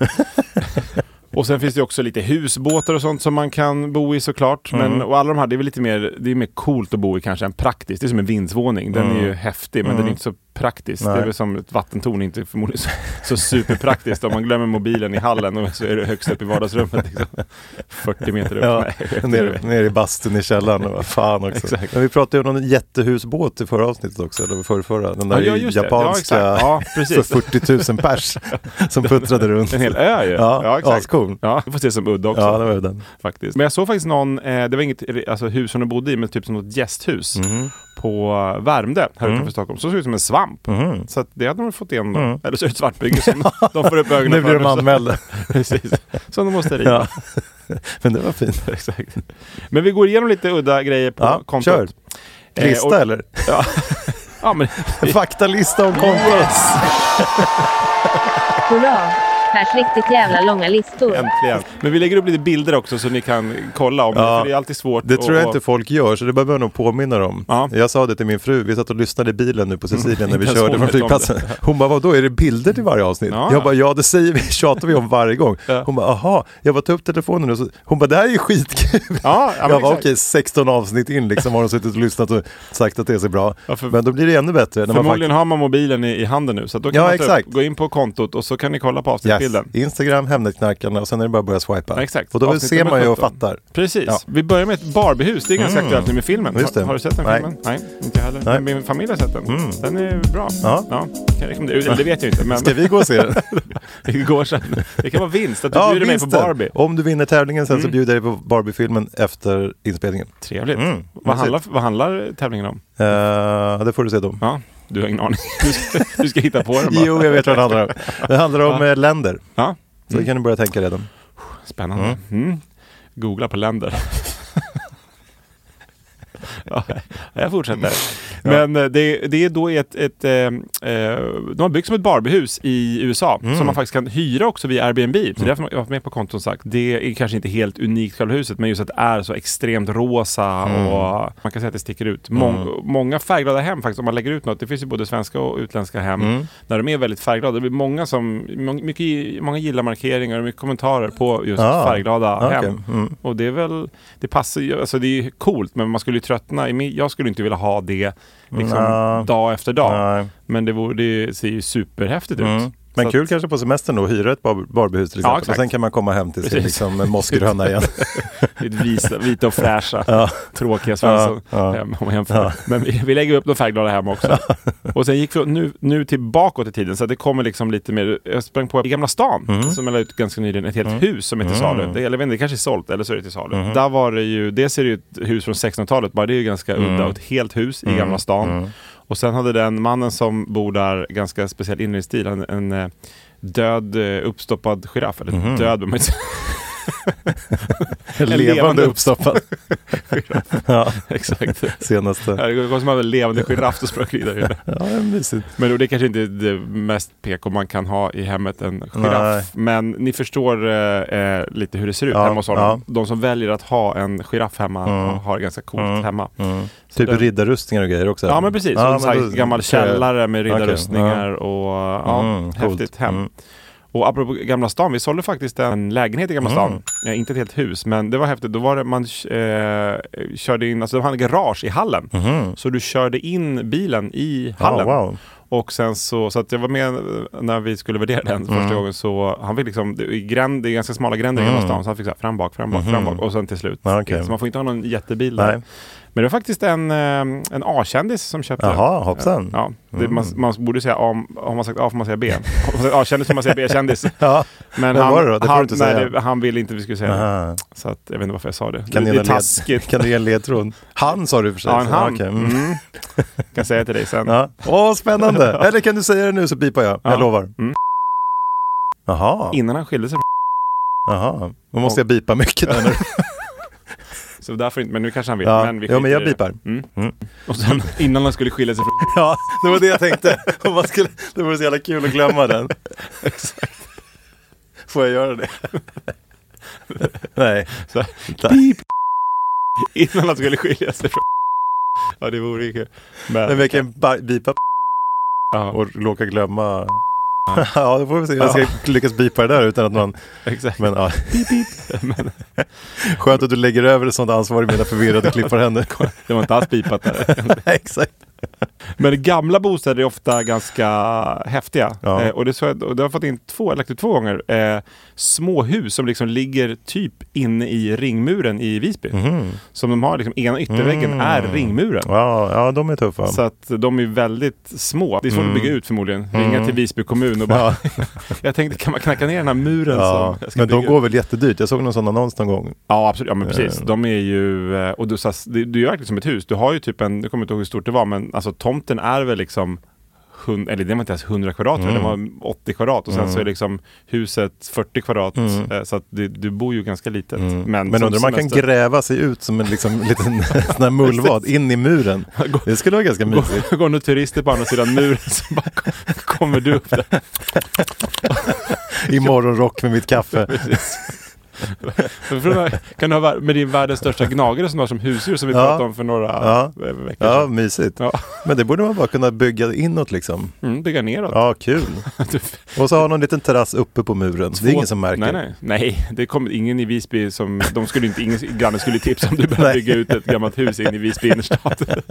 S2: och sen finns det ju också lite husbåtar och sånt som man kan bo i såklart. Men,
S1: Mm.
S2: och alla de här, det är väl lite mer, det är mer coolt att bo i kanske än praktiskt. Det är som en vindsvåning. Den är ju häftig men den är inte så praktiskt.
S1: Mm. Nej.
S2: Det är väl som ett vattentorn, inte förmodligen så, så superpraktiskt. Om man glömmer mobilen i hallen och så är det högst upp i vardagsrummet. Liksom. 40 meter upp.
S1: Ja,
S2: Nej,
S1: nere, nere i bastun i källaren. och Vad fan också.
S2: Exakt.
S1: Men vi pratade ju om någon jättehusbåt i förra avsnittet också, eller förra, förra. Den där
S2: ja, just det.
S1: japanska
S2: Ja, exakt.
S1: för
S2: ja, precis.
S1: 40 000 pers som puttrade runt.
S2: En hel ö ju.
S1: Ja,
S2: exakt.
S1: ascool.
S2: Ja, vi får se som udd också.
S1: Ja, det var ju den.
S2: faktiskt. Men jag såg faktiskt någon, eh, det var inget alltså, hus som de bodde i, men typ som något gästhus
S1: Mm.
S2: på Värmdö här utanför Stockholm. Så såg det ut som en svamp.
S1: Mhm.
S2: Så att det hade de fått igen då. Eller så är det ett svartbygge som de får upp ögonen
S1: Mm. Nu blir
S2: för.
S1: de anmälda.
S2: Precis, som de måste riva.
S1: Ja. Men det var fint.
S2: Exakt. Men vi går igenom lite udda grejer på
S1: Ja,
S2: kontot.
S1: kör.
S2: Eh,
S1: Lista
S2: och-
S1: eller?
S2: Ja. ja, men
S1: Faktalista om kontot.
S3: Hurra! Pers riktigt jävla långa listor.
S2: äntligen. Men vi lägger upp lite bilder också så ni kan kolla om det.
S1: Ja.
S2: För det är alltid svårt.
S1: Det tror jag
S2: att-
S1: inte folk gör, så det behöver jag nog påminna dem.
S2: Ja. Mm.
S1: Jag sa det till min fru, vi satt och lyssnade i bilen nu på Sicilien när vi
S2: Inte ens
S1: körde
S2: hon
S1: från
S2: vet om
S1: flygplatsen. Hon bara, vadå, är det bilder till varje avsnitt?
S2: Ja.
S1: Jag bara, ja det säger vi, tjatar vi om varje gång.
S2: Ja.
S1: Hon bara, aha, jag bara, ta upp telefonen och så, hon bara, det här är ju skitkul.
S2: Ja, ja, men
S1: jag bara, okej,
S2: exakt.
S1: 16 avsnitt in liksom har de suttit och lyssnat och sagt att det är så bra.
S2: Ja, för-
S1: Men då blir det ännu bättre. När man
S2: Förmodligen
S1: faktiskt...
S2: har man mobilen i, i handen nu, så att då kan
S1: Ja,
S2: man ta upp-
S1: exakt.
S2: gå in på kontot och så kan ni kolla på
S1: Yes.
S2: avsnittsbilden.
S1: Instagram, Hemnetknarkarna och sen är det bara att börja swipa.
S2: Ja, exakt.
S1: Och då
S2: Avsnitt
S1: ser
S2: nummer
S1: man ju och
S2: 17.
S1: fattar.
S2: Precis.
S1: Ja. Mm.
S2: Vi börjar med ett Barbiehus. Det är ganska aktuellt nu med filmen.
S1: Just det.
S2: Har, har du sett den
S1: Nej.
S2: filmen? Nej, inte jag heller.
S1: Nej. Mm.
S2: Men min familj har sett den. Den är bra.
S1: Ja.
S2: kan jag rekommendera. Eller Det vet jag inte, men
S1: Ska vi gå och se den?
S2: det går sen. Det kan vara vinst att du bjuder mig på
S1: vinsten.
S2: Barbie. Mm.
S1: Om du vinner tävlingen sen så bjuder jag dig på Barbie-filmen efter inspelningen.
S2: Trevligt.
S1: Mm,
S2: Vad,
S1: mysigt.
S2: handlar, vad handlar tävlingen om?
S1: Eh, det får du se då.
S2: Ja, du har ingen aning. Du ska, du ska hitta på den bara.
S1: Jo, jag vet vad det handlar om. Det handlar om eh, länder.
S2: Ja, Mm.
S1: Så kan du börja tänka redan.
S2: Spännande. Mm. Googla på länder. ja, jag fortsätter. Men eh, det, det är då ett... ett eh, eh, de har byggt som ett Barbiehus i USA som man faktiskt kan hyra också via Airbnb. Så därför har jag varit med på konton och sagt. Det är kanske inte helt unikt själva huset men just att det är så extremt rosa och man kan säga att det sticker ut. Mång, Många färgglada hem faktiskt om man lägger ut något. Det finns ju både svenska och utländska hem där de är väldigt färgglada. Det blir många som... mång- Mycket, många gillar markeringar och mycket kommentarer på just
S1: Ah.
S2: färgglada
S1: Ah,
S2: hem.
S1: okej. Mm.
S2: Och det är väl, det passar ju, alltså det är ju coolt men man skulle ju tröttna. I min- Jag skulle inte vilja ha det liksom
S1: Nja.
S2: dag efter dag.
S1: Nej.
S2: Men det, vore, det ser ju superhäftigt
S1: Mm.
S2: ut.
S1: Men
S2: Så
S1: kul
S2: att-
S1: kanske på semestern då, att hyra ett bar- Barbiehus till exempel. och
S2: exakt.
S1: sen kan man komma hem till sin
S2: Precis.
S1: liksom, mossgröna igen.
S2: Ett visa, vita och fräscha, tråkiga
S1: Ja,
S2: Svensson
S1: ja.
S2: hem om jag jämför. Men vi, vi lägger upp de färgglada hem också. och sen gick vi nu, nu tillbaka i tiden så att det kommer liksom lite mer. Jag sprang på i Gamla stan
S1: Mm.
S2: som jag la ut ganska nyligen, ett helt hus som är till salu. Det, eller jag vet inte, det kanske är sålt eller så är det till salu.
S1: Mm.
S2: Där var det ju, dels är det ju ett hus från 1600-talet, bara det är ju ganska udda
S1: Mm.
S2: och ett helt hus i Gamla stan. Och sen hade den mannen som bor där ganska speciell inredningsstil, en, en eh, död eh, uppstoppad giraff, eller död behöver man inte säga.
S1: En
S2: levande
S1: Mhm. levande uppstoppad. ja,
S2: Exakt.
S1: senaste.
S2: Ja, Det var som en levande giraff som sprang vidare.
S1: Ja, det är mysigt.
S2: Men då, det kanske inte är det mest PK man kan ha i hemmet, en giraff. Men ni förstår eh, eh, lite hur det ser ut
S1: Ja,
S2: hemma hos honom.
S1: ja. Mm.
S2: De som väljer att ha en giraff hemma har det ganska coolt hemma. Så
S1: Typ
S2: den-
S1: riddarrustningar och grejer också.
S2: Ja men precis, och en sån här
S1: men då-
S2: gammal källare med
S1: Okej,
S2: riddarrustningar och ja,
S1: Mm, coolt.
S2: häftigt hem.
S1: Mm.
S2: Och apropå Gamla stan, vi sålde faktiskt en lägenhet i Gamla
S1: Mm.
S2: stan. Ja, inte ett helt hus, men det var häftigt. Då var det, man eh, körde in, alltså de hade en garage i hallen. Så du körde in bilen i
S1: Mm-hmm. Ja,
S2: hallen.
S1: wow.
S2: Och sen så, så att jag var med när vi skulle värdera den
S1: Mm.
S2: första gången så han fick liksom, det är, gränd, det är ganska smala gränder i Gamla stan så han fick så här, fram bak, fram bak, fram bak och sen till slut.
S1: Mm. Ja, okej.
S2: Så man får inte ha någon jättebil där.
S1: Nej.
S2: Men det var faktiskt en, eh, en A-kändis som köpte.
S1: Jaha, hoppsan. Mm.
S2: Ja, det, man, man borde säga A, om- har man sagt A får man säga B. Har man sagt A-kändis får man säga B-kändis.
S1: Ja.
S2: Men
S1: Vad
S2: han,
S1: var det då? Det får du
S2: han,
S1: inte
S2: nej,
S1: säga.
S2: det, han ville inte att vi skulle säga
S1: Aha.
S2: det. Så att, jag vet inte varför jag sa det.
S1: Ah. Kan
S2: det,
S1: du
S2: det
S1: ge
S2: är
S1: en led-
S2: taskigt.
S1: kan du ge en ledtråd? Han sa du i och för sig.
S2: Ja, en
S1: Så,
S2: han.
S1: okej, mm.
S2: Mm. Kan säga till dig sen.
S1: Ja. Åh, spännande! Eller kan du säga det nu så pipar jag. Jag lovar.
S2: Mm.
S1: Jaha,
S2: Innan han skilde sig.
S1: jaha. Då måste jag bipa mycket där nu.
S2: Så därför inte, men nu kanske han vill.
S1: Ja.
S2: Men vi
S1: Jo, men jag
S2: skiter i det.
S1: bipar.
S2: Mm.
S1: Mm.
S2: Och sen innan han skulle skilja sig från...
S1: Ja, det var det jag tänkte. Om man skulle, det vore så jävla kul att glömma den. Får jag göra det? Nej.
S2: Så,
S1: Nej.
S2: innan han skulle skilja sig från... Ja, det vore ju kul. Men,
S1: Men jag kan ba- bipa
S2: ja,
S1: och råka glömma. Ja, det får vi se. Jag
S2: Ja.
S1: ska lyckas bipa det där utan att man...
S2: exakt.
S1: Men, ja.
S2: Men,
S1: Skönt att du lägger över ett sånt ansvar i mina förvirrade klipparhänder.
S2: det var inte alls pipat där.
S1: Nej, Exakt.
S2: Men gamla bostäder är ofta ganska häftiga.
S1: Ja.
S2: Eh, och, det, är så, att- och det har jag fått in två, eller två gånger, eh, småhus som liksom ligger typ inne i ringmuren i Visby. Som de har, liksom, ena ytterväggen är ringmuren.
S1: Ja, ja, de är tuffa.
S2: Så att de är väldigt små. Det är svårt att bygga ut förmodligen. Ringa till Visby kommun och bara... jag tänkte, kan man knacka ner den här muren
S1: ja.
S2: som jag ska
S1: Men de
S2: bygga?
S1: går väl jättedyrt? Jag såg någon sån annons någon gång.
S2: Ja, absolut. Ja, men precis. De är ju... eh, Och du, så här, det- du gör verkligen som ett hus. Du har ju typ en... Jag kommer inte ihåg hur stort det var, men alltså tomten är väl liksom... Hund, eller det var inte ens 100 kvadrat, mm. det var 80 kvadrat och sen
S1: Mm.
S2: så är liksom huset 40 kvadrat. eh, Så att du, du bor ju ganska litet. Men,
S1: Mm. Men
S2: som
S1: undrar om man kan
S2: semester-
S1: gräva sig ut som en liksom, liten sån här mullvad in i muren. Det skulle vara ganska mysigt.
S2: Går nu turister på andra sidan muren så bara kom- kommer du upp där.
S1: I morgonrock med mitt kaffe.
S2: Precis. Men frågan är, kan du ha, vär- men det är världens största gnagare som du har som husdjur som vi pratade om för några
S1: Ja.
S2: eh, veckor
S1: Ja,
S2: sedan.
S1: mysigt.
S2: Ja.
S1: Men det borde man bara kunna bygga inåt liksom.
S2: Mm, bygga neråt.
S1: Ja, kul.
S2: Du-
S1: Och så har någon liten terrass uppe på muren. Det är ingen som märker.
S2: Nej, nej. nej det kommer ingen i Visby som... De skulle inte, ingen granne skulle tipsa om du började bygga ut ett gammalt hus in i Visby innerstad.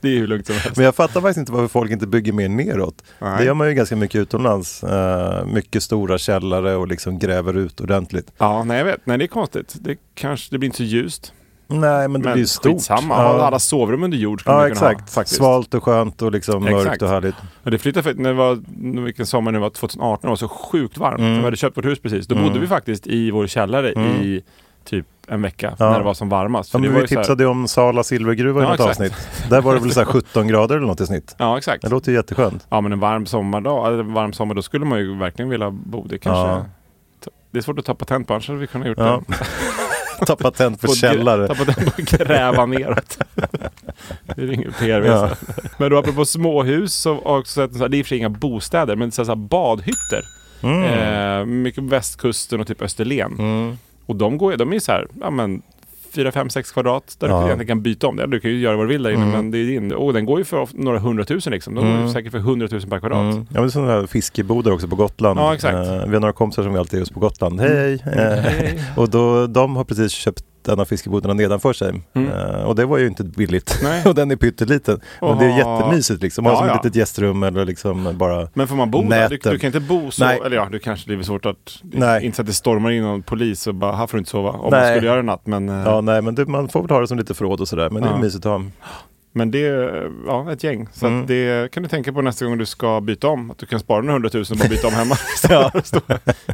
S2: det är ju hur lugnt som helst.
S1: Men jag fattar faktiskt inte varför folk inte bygger mer neråt.
S2: Nej.
S1: Det gör man ju ganska mycket utomlands. Eh, mycket stora källare och liksom gräver ut ordentligt.
S2: Ja, nej jag vet. Nej, det är konstigt. Det, kanske, det blir inte så ljust.
S1: Nej, men det
S2: Men
S1: blir ju stort.
S2: skitsamma.
S1: Ja,
S2: Ha Alla sovrum under jord skulle man
S1: ja
S2: kunna ha,
S1: exakt.
S2: faktiskt.
S1: Svalt och skönt och liksom
S2: Exakt.
S1: mörkt och härligt.
S2: Ja, det flyttade för, när det var, nu- vilken sommar det var, 2018, det var så sjukt varmt.
S1: Mm.
S2: Vi hade köpt vårt hus precis. Då bodde vi faktiskt i vår källare i typ en vecka
S1: Mm. Ja.
S2: när det var som varmast.
S1: Ja,
S2: det
S1: men
S2: var
S1: vi
S2: ju så här-
S1: tipsade ju om Sala silvergruva i
S2: Ja,
S1: något
S2: exakt.
S1: avsnitt. Där var det väl så här 17 grader eller något i snitt.
S2: Ja, exakt.
S1: Det låter ju jätteskönt.
S2: Ja, men en varm sommardag, eller en varm sommar, då skulle man ju verkligen vilja bo. Det kanske...
S1: Ja.
S2: ta- Det är svårt att ta patent på, annars hade vi kunnat gjort
S1: Ja.
S2: det.
S1: Ta patent på
S2: På att grä-
S1: källare.
S2: Ta patent på att gräva neråt. det ringer PRV.
S1: Ja.
S2: Men då apropå småhus så har jag också sett, så här- det är i och för sig inga bostäder, men så här, så här badhytter.
S1: Mm.
S2: Eh, mycket på västkusten och typ Österlen. Och de, går, ju- de är ju så här, ja men 4, 5, 6 kvadrat där
S1: Ja. Mm.
S2: du egentligen kan byta om det. Du kan ju göra vad du vill där inne men det är din. Och den går ju för of- några hundratusen liksom. De går ju säkert för hundratusen per
S1: Mm.
S2: kvadrat.
S1: Ja, men det är sådana här fiskebodar också på Gotland.
S2: Ja, exakt. Mm.
S1: Eh, vi har några kompisar som vi alltid är hos på Gotland. Hej! Eh, och då, de har precis köpt en av fiskebodarna nedanför sig. Eh, och det var ju inte billigt.
S2: Mm. Nej.
S1: och den är pytteliten. Men det är
S2: Oha.
S1: jättemysigt liksom. Man har
S2: Ja,
S1: som ett
S2: ja.
S1: litet gästrum eller liksom bara...
S2: Men får man bo där? Du,
S1: Näten.
S2: du kan inte bo så,
S1: Nej.
S2: eller ja, du kanske det är väl svårt att,
S1: Nej.
S2: inte så att det stormar in någon polis och bara, här får du inte sova. Om man
S1: Nej.
S2: skulle göra en natt. Men, eh,
S1: Ja, nej, men det, man får väl ha det som lite förråd och sådär. Men det är
S2: Ja.
S1: mysigt att ha.
S2: men det är eh, ja, ett gäng. Så att det kan du tänka på nästa gång du ska byta om. Att du kan spara några hundratusen och bara byta om hemma. ja. Stå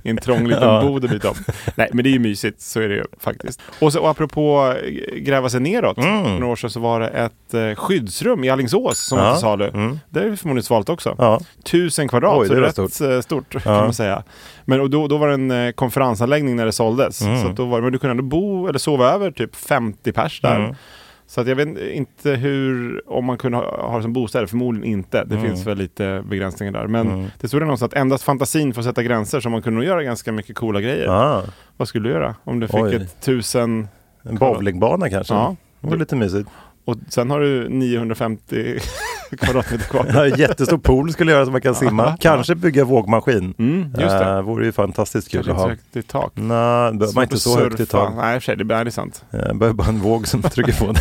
S2: I en trång liten bod och byta om. Nej, men det är ju mysigt. Så är det ju faktiskt. Och, så, och apropå eh, gräva sig neråt. För några år sedan så var det ett eh, skyddsrum i Alingsås som var till salu. Det är ju förmodligen svalt också.
S1: Ja.
S2: Tusen kvadrat,
S1: Oj,
S2: så
S1: det
S2: det
S1: var
S2: är rätt
S1: stort.
S2: stort, stort kan man säga. Men och då, då var det en eh, konferensanläggning när det såldes. Så att då var, det- men du kunde ändå bo eller sova över typ 50 pers där. Så att jag vet inte hur, om man kunde ha, ha det som bostäder, förmodligen inte. Det
S1: Mm.
S2: finns väl lite begränsningar där. Men det stod det någonstans att endast fantasin får sätta gränser så man kunde nog göra ganska mycket coola grejer.
S1: Ah,
S2: Vad skulle du göra om du fick
S1: Oj.
S2: ett tusen
S1: en bowlingbana kanske.
S2: Ja.
S1: Det var lite mysigt.
S2: och sen har du 950 kvadratmeter
S1: Ja,
S2: kvar?
S1: En jättestor pool skulle jag göra så man kan simma. Kanske bygga vågmaskin.
S2: Mm, just det.
S1: Eh, vore ju fantastiskt kul
S2: Kanske
S1: att
S2: inte så
S1: ha.
S2: högt i tak.
S1: Nej, Mm. det behöver man inte så
S2: Surfa.
S1: högt i tak.
S2: Nej, i och för sig, det är det är sant.
S1: Jag behöver bara en våg som trycker på den.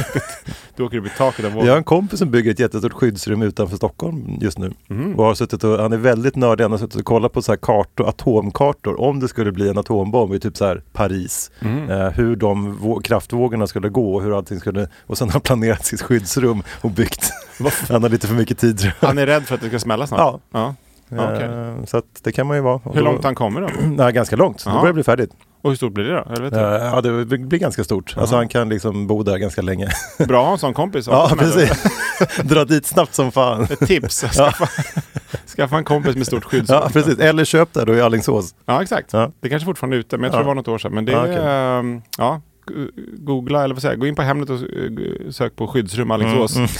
S2: Du åker upp i taket av
S1: Jag har
S2: vågen.
S1: en kompis som bygger ett jättestort skyddsrum utanför Stockholm just nu.
S2: Mm.
S1: Och har suttit och, han är väldigt nördig, han har suttit och kollat på så här kartor, atomkartor. Om det skulle bli en atombomb i typ så här Paris.
S2: Mm.
S1: Eh, hur de vå- kraftvågorna skulle gå och hur allting skulle... Och sen har han planerat sitt skyddsrum och byggt. han har lite för mycket tid tror jag.
S2: Han är rädd för att det ska smälla snart?
S1: Ja.
S2: ja. ja Ah, okej.
S1: Eh, så att det kan man ju vara. Och
S2: Hur
S1: då-
S2: långt han kommer då?
S1: Nej, ganska långt. Då
S2: Ja.
S1: börjar det bli färdigt.
S2: Och hur stort blir det då? Eller vet
S1: Eh,
S2: du?
S1: ja, det blir ganska stort. Alltså han kan liksom bo där ganska länge.
S2: Bra att ha en sån kompis.
S1: Ja,
S2: Som ändå-
S1: precis. Dra dit snabbt som fan.
S2: Ett tips. Skaffa, skaffa en kompis med stort skyddsrum.
S1: Ja, precis. Eller köp där då i Alingsås.
S2: Ja, exakt.
S1: Ja.
S2: Det kanske fortfarande är ute, men jag tror
S1: Ja.
S2: det var något år sedan. Men det
S1: Ja,
S2: är,
S1: okej.
S2: ehm, ja, g- googla eller vad säger jag? Gå in på Hemnet och eh, g- sök på skyddsrum Alingsås.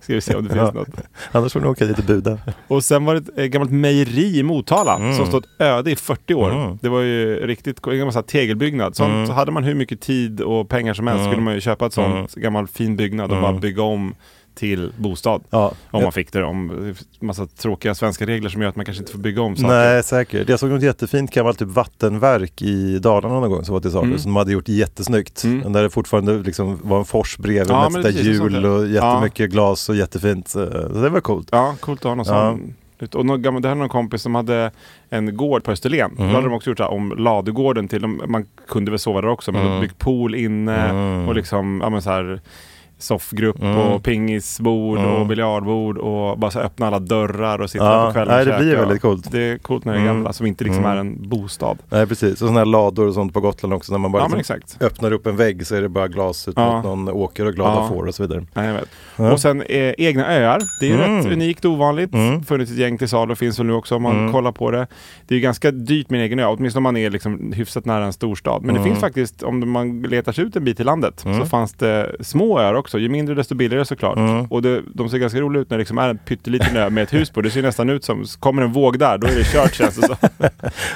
S2: Ska vi se om det finns
S1: Mm, Ja.
S2: något.
S1: Annars får ni åka dit och buda.
S2: Och sen var det ett eh, gammalt mejeri i Motala
S1: Mm.
S2: som stått öde i 40 år. Det var ju riktigt en gammal så här tegelbyggnad. Sånt,
S1: Mm.
S2: Så hade man hur mycket tid och pengar som helst skulle man ju köpa ett sånt gammal fin byggnad och bara bygga om till bostad.
S1: Mm. Ja.
S2: Om man fick det. Om massa tråkiga svenska regler som gör att man kanske inte får bygga om saker.
S1: Nej, säkert. Jag såg något jättefint gammalt typ vattenverk i Dalarna någon gång som var till salu,
S2: Mm.
S1: som de hade gjort jättesnyggt.
S2: Mm.
S1: Där det fortfarande liksom var en fors bredvid
S2: Ja, men
S1: med ett sånt där
S2: precis, sånt
S1: hjul
S2: där.
S1: och jättemycket glas och jättefint. Så det var coolt.
S2: Ja, coolt att ha någon
S1: Ja.
S2: sån. Och någon, gammal- det här är någon kompis som hade en gård på Österlen.
S1: Mhm.
S2: Då hade de också gjort så här, om ladugården till, de- man kunde väl sova där också,
S1: Mm.
S2: men de byggt pool inne och liksom, ja men så här soffgrupp
S1: Mm.
S2: och pingisbord och biljardbord och bara så här, öppna alla dörrar och sitta
S1: Ja,
S2: där på kvällen och
S1: nej, det
S2: käka.
S1: blir väldigt coolt. Mm.
S2: Det är coolt när det är gamla som inte liksom är en bostad.
S1: Nej, precis. Och sådana här lador och sånt på Gotland också. När man bara
S2: Ja men
S1: liksom
S2: exakt.
S1: öppnar upp en vägg så är det bara glas ut
S2: Ja.
S1: mot någon åker och glada
S2: Ja.
S1: får och så vidare.
S2: Nej, jag vet. Och sen eh, egna öar. Det är ju rätt unikt och ovanligt. Funnits ett gäng till salu och finns väl nu också om man kollar på det. Det är ju ganska dyrt med en egen ö, åtminstone om man är liksom hyfsat nära en storstad. Men det finns faktiskt, om man letar sig ut en bit i landet, så fanns det små öar också. Ju mindre desto billigare såklart. Och det, de ser ganska roliga ut när det liksom är en pytteliten ö med ett hus på. Det ser nästan ut som, kommer en våg där, då är det kört känns det som.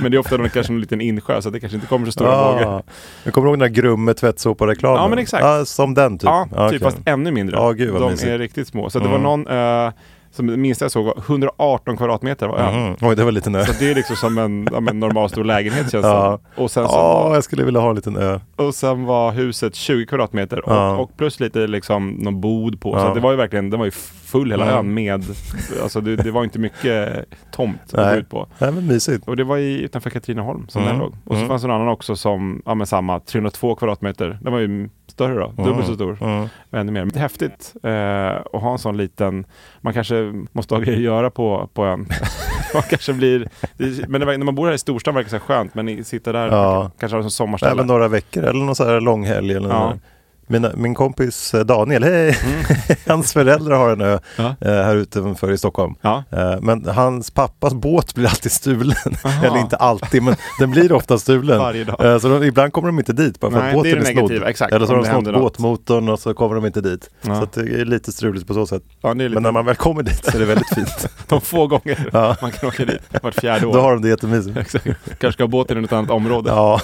S2: Men det är ofta någon, kanske en liten insjö så det kanske inte kommer så stora vågor.
S1: Ah. Jag kommer ihåg den där grumme tvättsåpareklamen.
S2: Ja, men exakt.
S1: Ja, som den typ.
S2: Ja,
S1: Ah,
S2: typ
S1: okej.
S2: fast ännu mindre.
S1: Ja, gud, vad
S2: de
S1: mysigt.
S2: är riktigt små. Så det var någon, eh, som det minsta jag såg, var 118 kvadratmeter var ön.
S1: Mm. Oj, det var en liten ö.
S2: Så det är liksom som en, ja, men normal stor lägenhet känns det
S1: Ja.
S2: som. och sen, så,
S1: Ja, Alltså, jag skulle vilja ha en liten ö.
S2: och sen var huset 20 kvadratmeter och,
S1: Ja.
S2: och plus lite liksom någon bod på. Så
S1: Ja.
S2: att det var ju verkligen, den var ju full hela
S1: Mm.
S2: ön med, alltså det, det var inte mycket tomt att
S1: Nej.
S2: gå ut på.
S1: Nej, men mysigt.
S2: Och det var i, utanför Katrineholm som
S1: Mm.
S2: den låg. Och så
S1: Mm.
S2: fanns det en annan också som, ja men samma, 302 kvadratmeter. Den var ju större då, dubbelt så stor.
S1: Mm.
S2: Och ännu mer. Det är häftigt eh, att ha en sån liten, man kanske måste ha grejer att göra på, på ön. man kanske blir, det, men det, var- när man bor här i storstan verkar det så här skönt, men ni sitter där
S1: Ja.
S2: man kan- kanske har det som
S1: Nej,
S2: sommarställe.
S1: men några veckor eller någon sån här långhelg. Eller
S2: Ja. Mm.
S1: ja. Mina, min kompis eh, Daniel, hej! Hans föräldrar har en ö
S2: Ja.
S1: eh, här utanför i Stockholm.
S2: Ja.
S1: Eh, Men hans pappas båt blir alltid stulen.
S2: Aha.
S1: Eller inte alltid, men den blir ofta stulen.
S2: Varje dag.
S1: Eh, Så de, ibland kommer de inte dit bara för
S2: Nej,
S1: att båten
S2: det
S1: är,
S2: är det
S1: snodd.
S2: negativa, exakt,
S1: Eller så
S2: om
S1: har de
S2: det
S1: snott
S2: händer något.
S1: båtmotorn och så kommer de inte dit.
S2: Ja.
S1: Så att det är lite struligt på så sätt.
S2: Ja, det är lite-
S1: Men när man väl kommer dit så är det väldigt fint.
S2: De få gånger
S1: Ja.
S2: man kan åka dit, vart fjärde år.
S1: Då har de det jättemysigt.
S2: Exakt. Kanske ska ha båten i något annat område.
S1: Ja,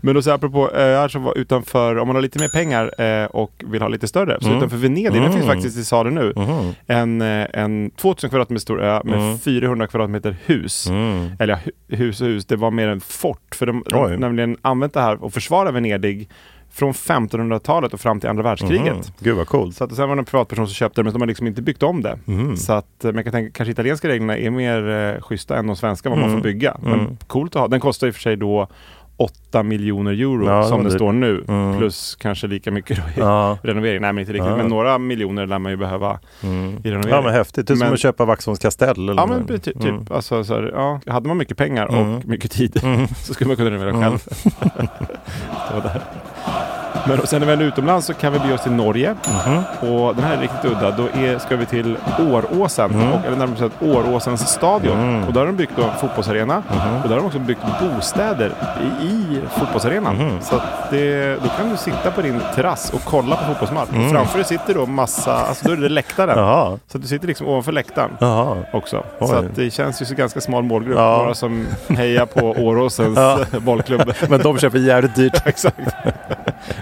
S2: Men då så apropå öar som var utanför, om man har lite mer pengar eh, och vill ha lite större,
S1: Mm.
S2: så utanför Venedig, den finns faktiskt i salu nu, en, eh, en 2000 kvadratmeter stor ö med
S1: Mm.
S2: 400 kvadratmeter hus. Eller ja, hu- hus och hus, det var mer en fort, för de, de
S1: Oj.
S2: nämligen använt det här och försvara Venedig från 1500-talet och fram till andra världskriget.
S1: gud vad coolt.
S2: Så att, och sen var det en privatperson som köpte det, men de har liksom inte byggt om det.
S1: Mhm.
S2: Så att, eh, men jag kan tänka, kanske italienska reglerna är mer eh, schyssta än de svenska, vad
S1: Mm.
S2: man får bygga. Men coolt att ha. Den kostar i och för sig då 8 miljoner euro
S1: Ja, det
S2: som
S1: var
S2: det
S1: dyrt.
S2: står nu, plus kanske lika mycket då i
S1: Ja. Mm.
S2: renovering. Nej, men inte riktigt. Men några miljoner lär man ju behöva i renovering.
S1: Ja men häftigt, det är som
S2: Men-
S1: att köpa Vaxholms kastell. Eller
S2: Ja
S1: något. Mm.
S2: men ty- typ, alltså, så här, ja, hade man mycket pengar och mycket tid så skulle man kunna renovera själv. det var där. Men och sen när vi är utomlands så kan vi bege oss till Norge. Och den här är riktigt udda. Då är, ska vi till Åråsen, och, eller närmare bestämt Åråsens stadion. Och där har de byggt då en fotbollsarena. Och där har de också byggt bostäder i, i fotbollsarenan. Så att det, då kan du sitta på din terrass och kolla på fotbollsmatch. Och framför dig sitter då massa, alltså då är det läktaren.
S1: Jaha.
S2: Så att du sitter liksom ovanför läktaren
S1: Jaha.
S2: också.
S1: Oj.
S2: Så att det känns ju som en ganska smal målgrupp.
S1: Ja.
S2: Några som hejar på Åråsens
S1: Ja.
S2: bollklubb.
S1: Men de köper jävligt dyrt.
S2: Exakt.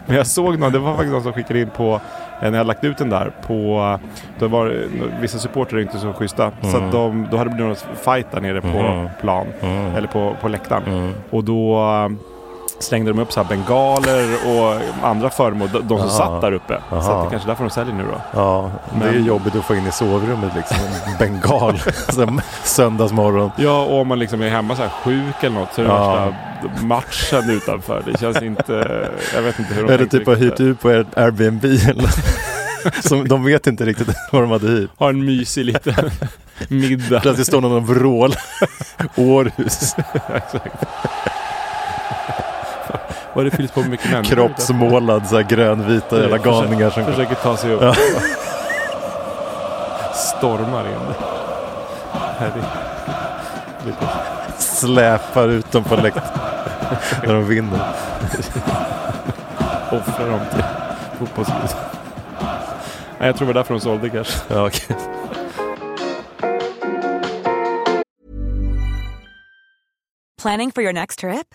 S2: Men jag såg någon, det var faktiskt någon som skickade in på, eh, när jag lagt ut den där, på, det var eh, vissa supportrar är inte så schyssta. Så
S1: Mm.
S2: att de, då hade det blivit någon fight där nere på
S1: Mm-hmm.
S2: plan,
S1: Mm.
S2: eller på, på läktaren. Och då eh, slängde de upp så här bengaler och andra föremål, de, de som satt där uppe. Så att det
S1: Aha.
S2: är kanske därför de säljer nu då.
S1: Ja, det är ju
S2: Men-
S1: jobbigt att få in i sovrummet liksom. En bengal. Sen söndagsmorgon.
S2: Ja, och om man liksom är hemma så här sjuk eller något så är det
S1: Ja.
S2: värsta matchen utanför. Det känns inte... Jag vet inte hur de
S1: Eller
S2: tänkte
S1: typ har
S2: riktigt
S1: hyrt ut på Air- Airbnb. eller- Som, de vet inte riktigt vad de hade hyrt.
S2: Ha en mysig liten middag.
S1: Plötsligt står någon och vrålar. Århus.
S2: Exakt. Vad det fylls på med mycket människor.
S1: Kroppsmålad, så här grönvita jävla
S2: Försöker-
S1: galningar. Som,
S2: Försöker ta sig upp. Stormar in. Herregud.
S1: släpar ut dem på läktaren. När de vinner.
S2: Offrar dem till fotbollslivet. Nej, jag tror det var därför de sålde kanske.
S1: Ja, okej.
S4: Planning for your next trip?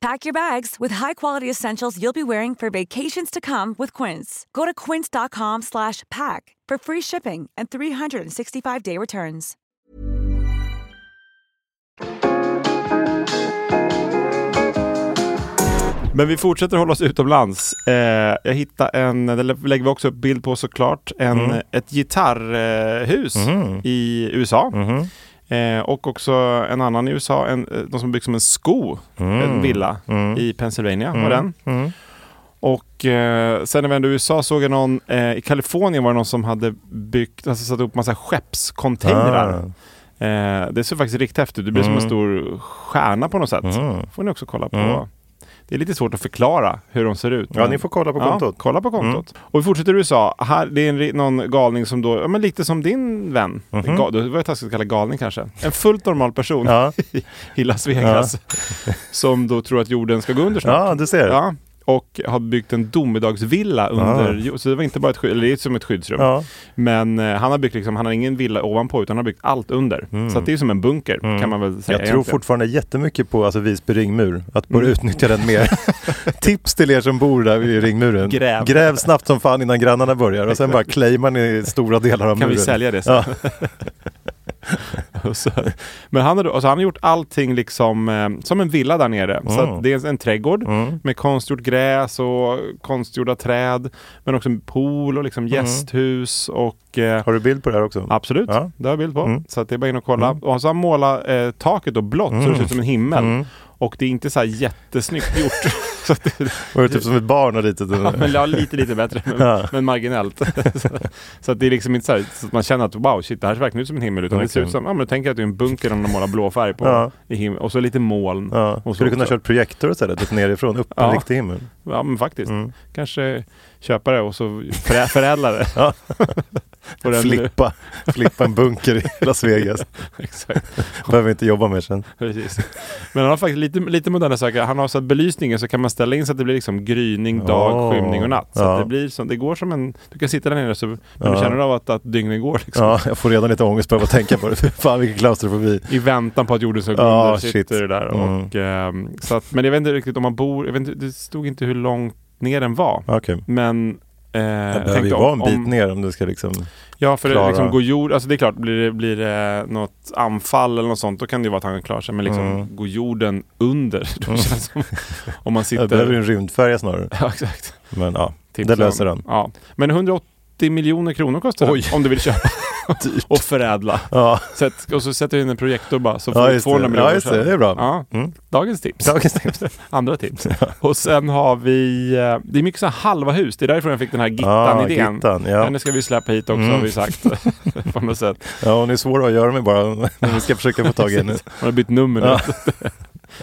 S4: Pack your bags with high-quality essentials you'll be wearing for vacations to come with Quince. Go to quince.com slash pack for free shipping and 365-day returns.
S2: Men vi fortsätter hålla oss utomlands. Eh, jag hittade en, det lä- lägger vi också upp bild på såklart, en, ett gitarrhus i USA. Eh, och också en annan i USA, en, eh, de som byggt som en sko, en villa i Pennsylvania var den. Och eh, sen när vi ändå är i USA såg jag någon, eh, i Kalifornien var det någon som hade byggt, alltså satt upp massa skeppscontainrar. Eh, det ser faktiskt riktigt häftigt ut. Det blir som en stor stjärna på något sätt.
S1: Mm.
S2: får ni också kolla på. Det är lite svårt att förklara hur de ser ut.
S1: Ja, ni får kolla på kontot. Mm.
S2: Ja, kolla på kontot. Och vi fortsätter i USA. Här, det är en, ri- någon galning som då, ja, men lite som din vän.
S1: Mhm.
S2: Mm. Ga, det var ju taskigt att kalla galning kanske. En fullt normal person
S1: Ja.
S2: i, i Las Vegas. som då tror att jorden ska gå under snart.
S1: Ja, du ser.
S2: Ja, och har byggt en domedagsvilla under jord- Så det var inte bara ett skydd, eller det är som ett skyddsrum.
S1: Ja.
S2: Men eh, han har byggt liksom, han har ingen villa ovanpå utan han har byggt allt under. Så att det är som en bunker kan man väl säga
S1: Mm. Jag tror
S2: egentligen. Mm.
S1: fortfarande jättemycket på alltså, Visby ringmur, att börja utnyttja den mer. Tips till er som bor där vid ringmuren.
S2: Gräv.
S1: snabbt som fan innan grannarna börjar och sen bara claimar ni stora delar av
S2: Kan vi
S1: muren.
S2: sälja det sen?
S1: Ja.
S2: Och så, men han har, då- alltså han har gjort allting liksom, eh, som en villa där nere. Så
S1: Ah.
S2: att det är en trädgård med konstgjort gräs och konstgjorda träd. Men också en pool och liksom gästhus och eh,
S1: Ah. Har du bild på det här också?
S2: Absolut,
S1: Ja. Mm.
S2: det har jag bild på. Så att det är bara in och kolla. Och så har han målat eh, taket då blått så det
S1: Mm.
S2: ser ut som en himmel. Och det är inte så här jättesnyggt gjort. så att det,
S1: Var det typ som ett barn och litet?
S2: ja, men ja, lite, lite bättre, men,
S1: Ja.
S2: men marginellt. så, så att det är liksom inte så, här, så att man känner att wow, shit, det här ser verkligen ut som en himmel. Utan det ser
S1: Verkligen.
S2: ut som, ja men tänk att det är en bunker om de målar blå färg på.
S1: Ja.
S2: I himmel, och så lite moln.
S1: Ja.
S2: Och så
S1: Skulle du kunna ha
S2: också-
S1: kört projektor istället, typ nerifrån, upp en
S2: Ja.
S1: riktig himmel.
S2: Ja men faktiskt.
S1: Mm.
S2: Kanske köpa det och så förä, förädla det.
S1: Ja.
S2: På den-
S1: Flippa, flippa en bunker i Las Vegas.
S2: Exakt.
S1: Behöver inte jobba mer sen.
S2: Precis. Men han har faktiskt lite, lite moderna saker. Han har så att belysningen så kan man ställa in så att det blir liksom gryning, dag,
S1: Åh.
S2: skymning och natt. Så
S1: Ja.
S2: att det blir som, det går som en, du kan sitta där nere så, men
S1: Ja.
S2: du känner av att, att dygnet går liksom.
S1: Ja, jag får redan lite ångest bara av att tänka på det. Fy fan vilken klaustrofobi.
S2: I väntan på att jorden ska gå
S1: Ja,
S2: under sitter
S1: shit.
S2: det där.
S1: Mm.
S2: Och, ehm, så att, men jag vet inte riktigt om man bor, jag vet inte, det stod inte hur långt ner den var.
S1: Okej.
S2: Men
S1: Det
S2: eh,
S1: behöver ju
S2: tänkte om-
S1: vara en bit
S2: om-
S1: ner om du ska liksom...
S2: Ja, för
S1: klara-
S2: det liksom går jord, alltså det är klart, blir det, blir det något anfall eller något sånt, då kan det ju vara att han klarar sig. Men liksom,
S1: Mm.
S2: går jorden under, då känns det som, om man
S1: Det behöver ju
S2: sitter...
S1: en rymdfärja snarare.
S2: Ja, exakt.
S1: Men ja,
S2: Tips
S1: det
S2: om-
S1: löser han.
S2: Ja. Men 180 miljoner kronor kostar
S1: Oj.
S2: det om du vill köpa och förädla.
S1: Ja,
S2: Sätt, och så sätter du in en projektor bara, så får
S1: ja
S2: du
S1: just
S2: 200
S1: det.
S2: miljoner.
S1: Ja, just det.
S2: sen.
S1: Det är bra.
S2: Ja.
S1: Mm.
S2: Dagens tips.
S1: Dagens tips.
S2: Andra tips. Och sen har vi, eh, det är mycket så här halva hus. Det är därifrån jag fick den här
S1: Ja,
S2: Gittan-idén.
S1: Ah, gittan.
S2: Den
S1: Ja.
S2: ska vi släppa hit också
S1: Mm.
S2: har vi sagt. på något sätt.
S1: ja, hon är svår att göra med bara. Men vi ska försöka få tag i henne.
S2: Hon har bytt nummer nu.
S1: Ja.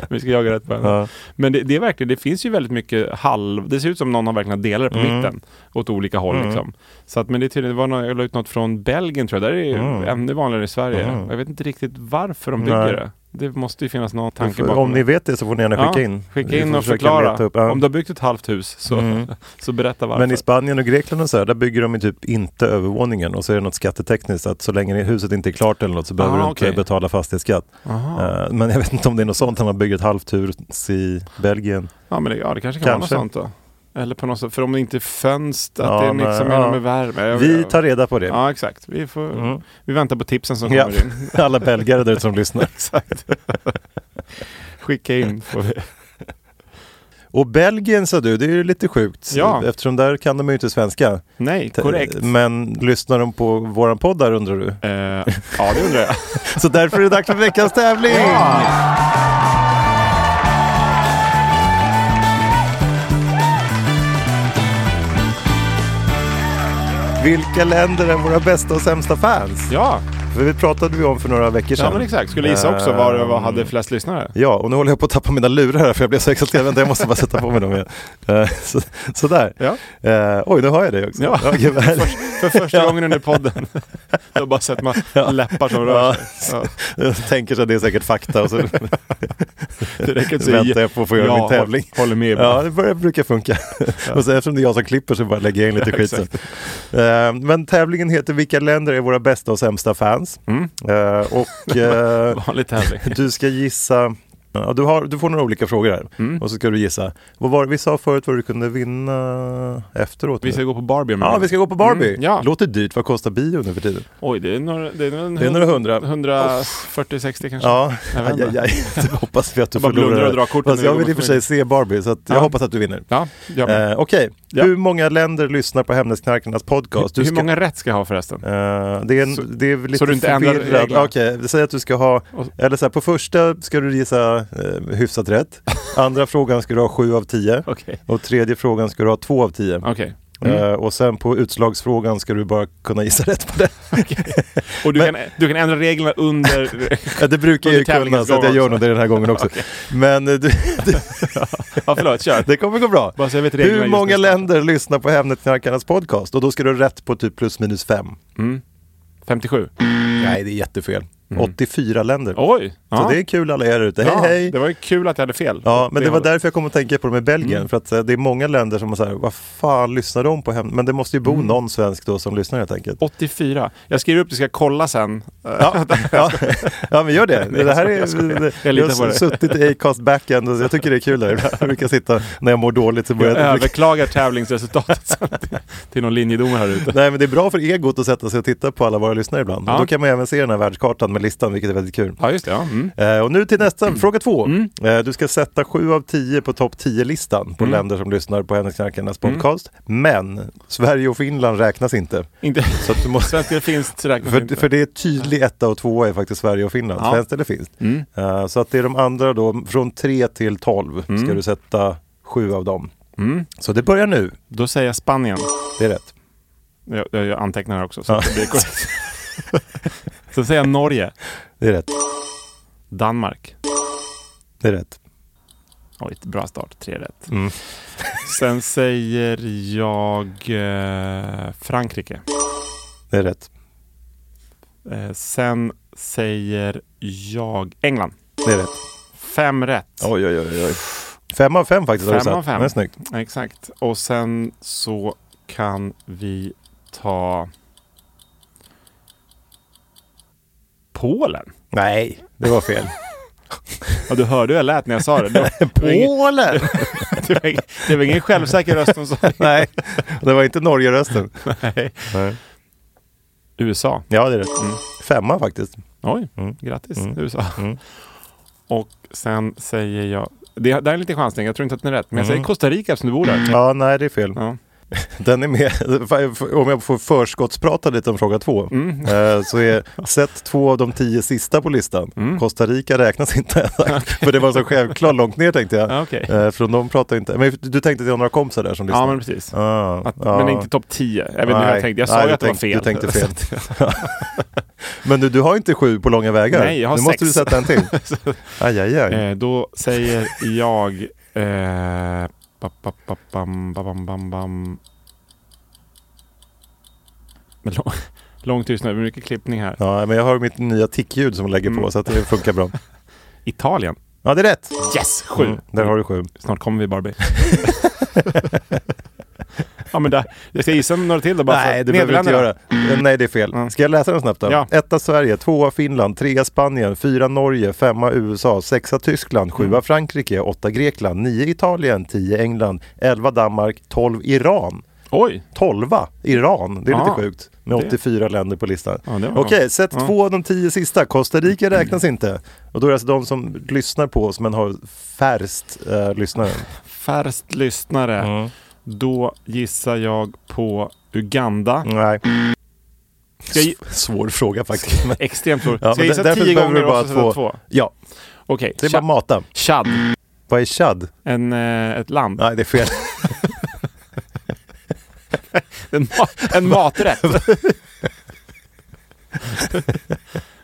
S2: vi ska jaga rätt på henne.
S1: Ja.
S2: Men det, det är verkligen, det finns ju väldigt mycket halv... Det ser ut som någon har verkligen delat det på
S1: Mm.
S2: mitten. Åt olika håll liksom. Så att, men det är tydligen, det var någon, jag la ut något från Belgien tror jag. Där är det ju
S1: Mm.
S2: ännu vanligare i Sverige.
S1: Mm.
S2: Jag vet inte riktigt varför de bygger
S1: Nej.
S2: det. Det måste ju finnas någon tanke bakom
S1: Om ni vet det så får ni gärna
S2: Ja,
S1: skicka in.
S2: Skicka
S1: Vi
S2: in
S1: får
S2: och
S1: försöka leta
S2: förklara.
S1: upp, ja.
S2: Om du har byggt ett halvt hus så,
S1: Mm.
S2: så berätta varför.
S1: Men i Spanien och Grekland och så här, där bygger de ju typ inte övervåningen och så är det något skattetekniskt att så länge huset inte är klart eller något så behöver
S2: Ah,
S1: du inte
S2: okej. Ah.
S1: betala fastighetsskatt.
S2: Aha.
S1: Eh, Men jag vet inte om det är något sånt när man bygger ett halvt hus i Belgien.
S2: Ja, men det, ja, det kanske kan
S1: Kanske.
S2: vara något sånt då. Eller på något sätt, för om det inte är fönster, att
S1: Ja,
S2: det är liksom
S1: nej,
S2: är
S1: ja.
S2: något med värme. Jag-
S1: Vi
S2: jag-
S1: tar reda på det.
S2: Ja, exakt. Vi, får,
S1: Mm.
S2: vi väntar på tipsen som
S1: Ja.
S2: kommer in.
S1: Alla belgare där ute som lyssnar.
S2: Exakt. Skicka in. Får vi.
S1: Och Belgien sa du, det är ju lite sjukt.
S2: Ja.
S1: Eftersom där kan de ju inte svenska.
S2: Nej, korrekt.
S1: Men lyssnar de på våran podd där undrar du?
S2: Eh, ja, det undrar jag.
S1: Så därför är det dags för veckans tävling!
S2: Ja.
S1: Vilka länder är våra bästa och sämsta fans?
S2: Ja,
S1: För det pratade vi om för några veckor sedan.
S2: ja men exakt. Skulle gissa också var det var,
S1: Ehm,
S2: hade flest lyssnare.
S1: Ja, och nu håller jag på att tappa mina lurar här för jag blev så exalterad. Vänta, jag måste bara sätta på mig dem igen. Eh, så, sådär.
S2: Ja.
S1: Eh, oj, nu har jag dig också.
S2: Ja.
S1: Okej, vad härligt.
S2: För första gången under podden. Jag har bara sett man läppar som rör
S1: Ja.
S2: sig. Ja.
S1: Jag tänker så att det är säkert fakta och så
S2: Det räcker att säga-
S1: väntar jag på att få göra
S2: Ja,
S1: min tävling.
S2: håll- Håller med.
S1: Ja, det börjar, brukar funka. Och sen eftersom det är jag som klipper så bara lägger jag in lite skit sen. Eh, men tävlingen heter Vilka länder är våra bästa och sämsta fans?
S2: Mm.
S1: Eh, och eh,
S2: Vanlig tävling.
S1: du ska gissa, ja, du, har, du får några olika frågor här
S2: Mm.
S1: och så ska du gissa. Vad var, vi sa förut vad du kunde vinna efteråt. nu.
S2: Vi ska gå på Barbie om en
S1: Ja,
S2: gång.
S1: vi ska gå på Barbie.
S2: Mm, ja.
S1: Låter dyrt, vad kostar bio nu för tiden?
S2: Oj, det är några, det är några,
S1: Det är några hundra.
S2: 140-60 kanske.
S1: Ja,
S2: Jag vet
S1: aj,
S2: inte.
S1: aj, aj. Det hoppas vi att du
S2: Jag bara blundar
S1: förlorar.
S2: och drar korten
S1: Fast
S2: när
S1: jag
S2: vi
S1: vill
S2: går
S1: i och för sig se Barbie, så att jag
S2: Ja.
S1: hoppas att du vinner.
S2: Ja, jag med.
S1: Eh, Okej,
S2: Ja.
S1: hur många länder lyssnar på Hemnesknarkarnas podcast? Du
S2: Hur
S1: ska-
S2: många rätt ska jag ha förresten?
S1: Eh, det, är en,
S2: Så-
S1: det är lite
S2: så du inte ändrar
S1: förvirrad.
S2: reglerna?
S1: Okej, säg att du ska ha,
S2: Och-
S1: eller så här, på första ska du gissa eh, hyfsat rätt. Andra frågan ska du ha 7 av 10.
S2: Okej.
S1: Och tredje frågan ska du ha 2 av 10.
S2: Okej.
S1: Eh,
S2: Mm.
S1: och sen på utslagsfrågan ska du bara kunna gissa rätt på det.
S2: Och du, kan, du kan ändra reglerna under...
S1: Ja, det brukar jag ju
S2: Under tävlingens
S1: kunna, så att
S2: gång
S1: jag gör
S2: också.
S1: nog det den här gången också. Men eh, du, du,
S2: ja, förlåt. Kör.
S1: det kommer gå bra.
S2: Bara så jag vet reglerna
S1: Hur
S2: just
S1: många
S2: nu.
S1: länder lyssnar på Hemnetknarkarnas podcast? Och då ska du ha rätt på typ plus minus fem.
S2: 57. Mm.
S1: Nej, det är jättefel. 84 länder.
S2: Oj!
S1: Så det är kul alla er ute. Hej
S2: Mm. Oh. ja,
S1: hej!
S2: Det var ju kul att jag hade fel.
S1: Ja, men det var
S2: hållet.
S1: därför jag kom att tänka på det med Belgien.
S2: Mm.
S1: För att eh, det är många länder som har så här, vad fan lyssnar de på hem? Men det måste ju bo
S2: Mm.
S1: någon svensk då som lyssnar helt enkelt.
S2: Oh. 84. Jag skriver upp det, ska jag kolla sen. Eh,
S1: Ja, ja, ja, men gör det. Det här är,
S2: Jag skojar, jag skojar. Jag
S1: jag
S2: litar på
S1: har
S2: det.
S1: suttit i Acast backend och jag tycker det är kul där. Jag brukar sitta när jag mår dåligt så
S2: Jag
S1: börjar jag...
S2: överklagar tävlingsresultatet sen till, till någon linjedomare här ute.
S1: Nej men det är bra för egot att sätta sig och titta på alla våra lyssnare ibland.
S2: Ja.
S1: Och då kan man även se den här världskartan med listan, vilket är väldigt kul.
S2: Ja, just det. Ja. Mm.
S1: Eh, och nu till nästa, fråga två. Eh, du ska sätta sju av tio på topp 10-listan på länder som lyssnar på Hemnetknarkarnas podcast. Men Sverige och Finland räknas inte.
S2: Inte.
S1: Så att du måste...
S2: Svenskt eller finskt räknas
S1: För,
S2: inte.
S1: för det är tydlig etta och tvåa är faktiskt Sverige och Finland,
S2: Ja.
S1: svenskt eller finskt. Eh, så att det är de andra då, från 3 till 12 ska du sätta sju av dem. Så det börjar nu,
S2: Då säger jag Spanien.
S1: det är rätt.
S2: Jag, jag, jag antecknar här också. Så
S1: Ja.
S2: att det blir korrekt. Sen säger jag Norge.
S1: Det är rätt,
S2: Danmark.
S1: det är rätt. Mm.
S2: Oj, bra start. Tre rätt. Sen säger jag eh, Frankrike.
S1: Det är rätt,
S2: Eh, sen säger jag England.
S1: det är rätt.
S2: Fem rätt.
S1: Oj, oj, oj. oj. Fem av fem faktiskt har du
S2: Fem av
S1: satt.
S2: fem.
S1: Det är snyggt.
S2: Exakt. Och sen så kan vi ta Polen.
S1: Nej, det var fel.
S2: Ja, du hörde hur jag lät när jag sa det. Det var, det var, ingen,
S1: Polen!
S2: det var, ingen, det var ingen självsäker röst som sa det.
S1: Nej, det var inte Norge-rösten.
S2: Nej.
S1: Nej.
S2: USA.
S1: Ja, det är rätt. Femma faktiskt.
S2: Oj,
S1: Mm.
S2: grattis USA. Och sen säger jag... Det, det här är en liten chansning, jag tror inte att den är rätt. Men jag säger
S1: Mm.
S2: Costa Rica eftersom du bor där.
S1: Ja, nej det är fel.
S2: Ja.
S1: Den är med, om jag får förskottsprata lite om fråga två,
S2: Mm.
S1: eh, så är sett två av de tio sista på listan.
S2: Mm.
S1: Costa Rica räknas inte, för det var så självklart långt ner tänkte jag.
S2: Ja, okej.
S1: Eh, Från de pratar inte, men du tänkte att jag har några kompisar där som lyssnar?
S2: Ja, men precis.
S1: Ah,
S2: Att,
S1: ah.
S2: Men inte topp 10. Jag vet inte hur
S1: Nej,
S2: jag tänkte. Jag sa
S1: nej,
S2: ju
S1: du
S2: att det var
S1: tänk-
S2: fel.
S1: Du tänkte fel. men du, du har inte sju på långa vägar.
S2: Nej, jag har
S1: nu
S2: sex.
S1: måste du sätta en till. Aj, aj, aj.
S2: Eh, då säger jag... Eh, ba, ba, ba, bam, ba, bam, bam, bam. Men lång, lång tystnad, det blir mycket klippning här.
S1: Ja, men jag har mitt nya tickljud som jag lägger på
S2: Mm.
S1: så att det funkar bra.
S2: Italien.
S1: Ja, det är rätt!
S2: Yes! Sju.
S1: Mm, där har du sju.
S2: Snart kommer vi Barbie. ja men där, jag ska gissa några till då bara
S1: Nej,
S2: att-
S1: det behöver du inte göra.
S2: Nederländerna.
S1: Eh, Nej, det är fel.
S2: Mm.
S1: Ska jag läsa den snabbt då?
S2: Ja.
S1: Etta Sverige, tvåa Finland, trea Spanien, fyra Norge, femma USA, sexa Tyskland, sjua
S2: Mm.
S1: Frankrike, åtta Grekland, nio Italien, tio England, elva Danmark, tolv Iran.
S2: Oj!
S1: Tolva Iran, det är
S2: Ja,
S1: lite sjukt. Med
S2: det-
S1: 84 länder på listan.
S2: Ja, det var
S1: Okej,
S2: bra.
S1: sätt
S2: Ja.
S1: två av de tio sista. Costa Rica räknas inte. Och då är det alltså de som lyssnar på oss men har färst eh, lyssnare.
S2: Färskt lyssnare. Då gissar jag på Uganda.
S1: Nej.
S2: Ska jag,
S1: S- Svår fråga faktiskt. Men...
S2: extremt svårt.
S1: Ja,
S2: Ska jag
S1: men där-
S2: gissa
S1: därför
S2: tio
S1: behöver
S2: gånger
S1: du bara
S2: och så sätta
S1: två.
S2: två?
S1: Ja,
S2: Okej,
S1: det är bara
S2: Tja-
S1: mata.
S2: Tchad.
S1: Vad är Chad?
S2: En, eh, ett land.
S1: Nej, det är fel.
S2: En, ma- en maträtt.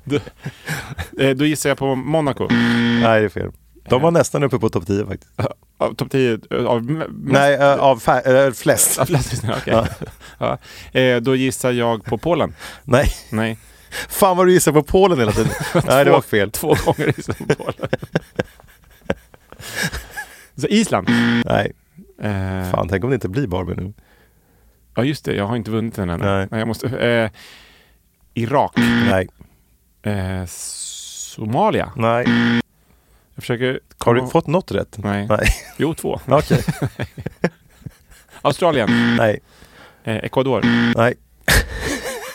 S2: du, eh, då gissar jag på Monaco.
S1: Nej, det är fel. De var nästan uppe på topp 10 faktiskt.
S2: Av topp 10 eh, av m- mest-
S1: Nej, eh, av fa- eh, flest.
S2: av flest lyssnare, okej. Ja. Eh, Då gissar jag på Polen.
S1: Nej,
S2: Nej,
S1: fan vad du gissar på Polen hela tiden. Nej, det var fel.
S2: två gånger gissar jag på Polen. Så Island.
S1: Nej,
S2: Eh,
S1: fan tänk om det inte blir Barbie nu.
S2: Ja just det, jag har inte vunnit den ännu.
S1: Nej.
S2: Nej. Jag måste, eh, Irak.
S1: Nej,
S2: Eh, Somalia.
S1: nej.
S2: Jag försöker...
S1: Har du fått något rätt?
S2: Nej.
S1: Nej,
S2: Jo, två.
S1: okej.
S2: Australien.
S1: Nej,
S2: Eh, Ecuador.
S1: nej.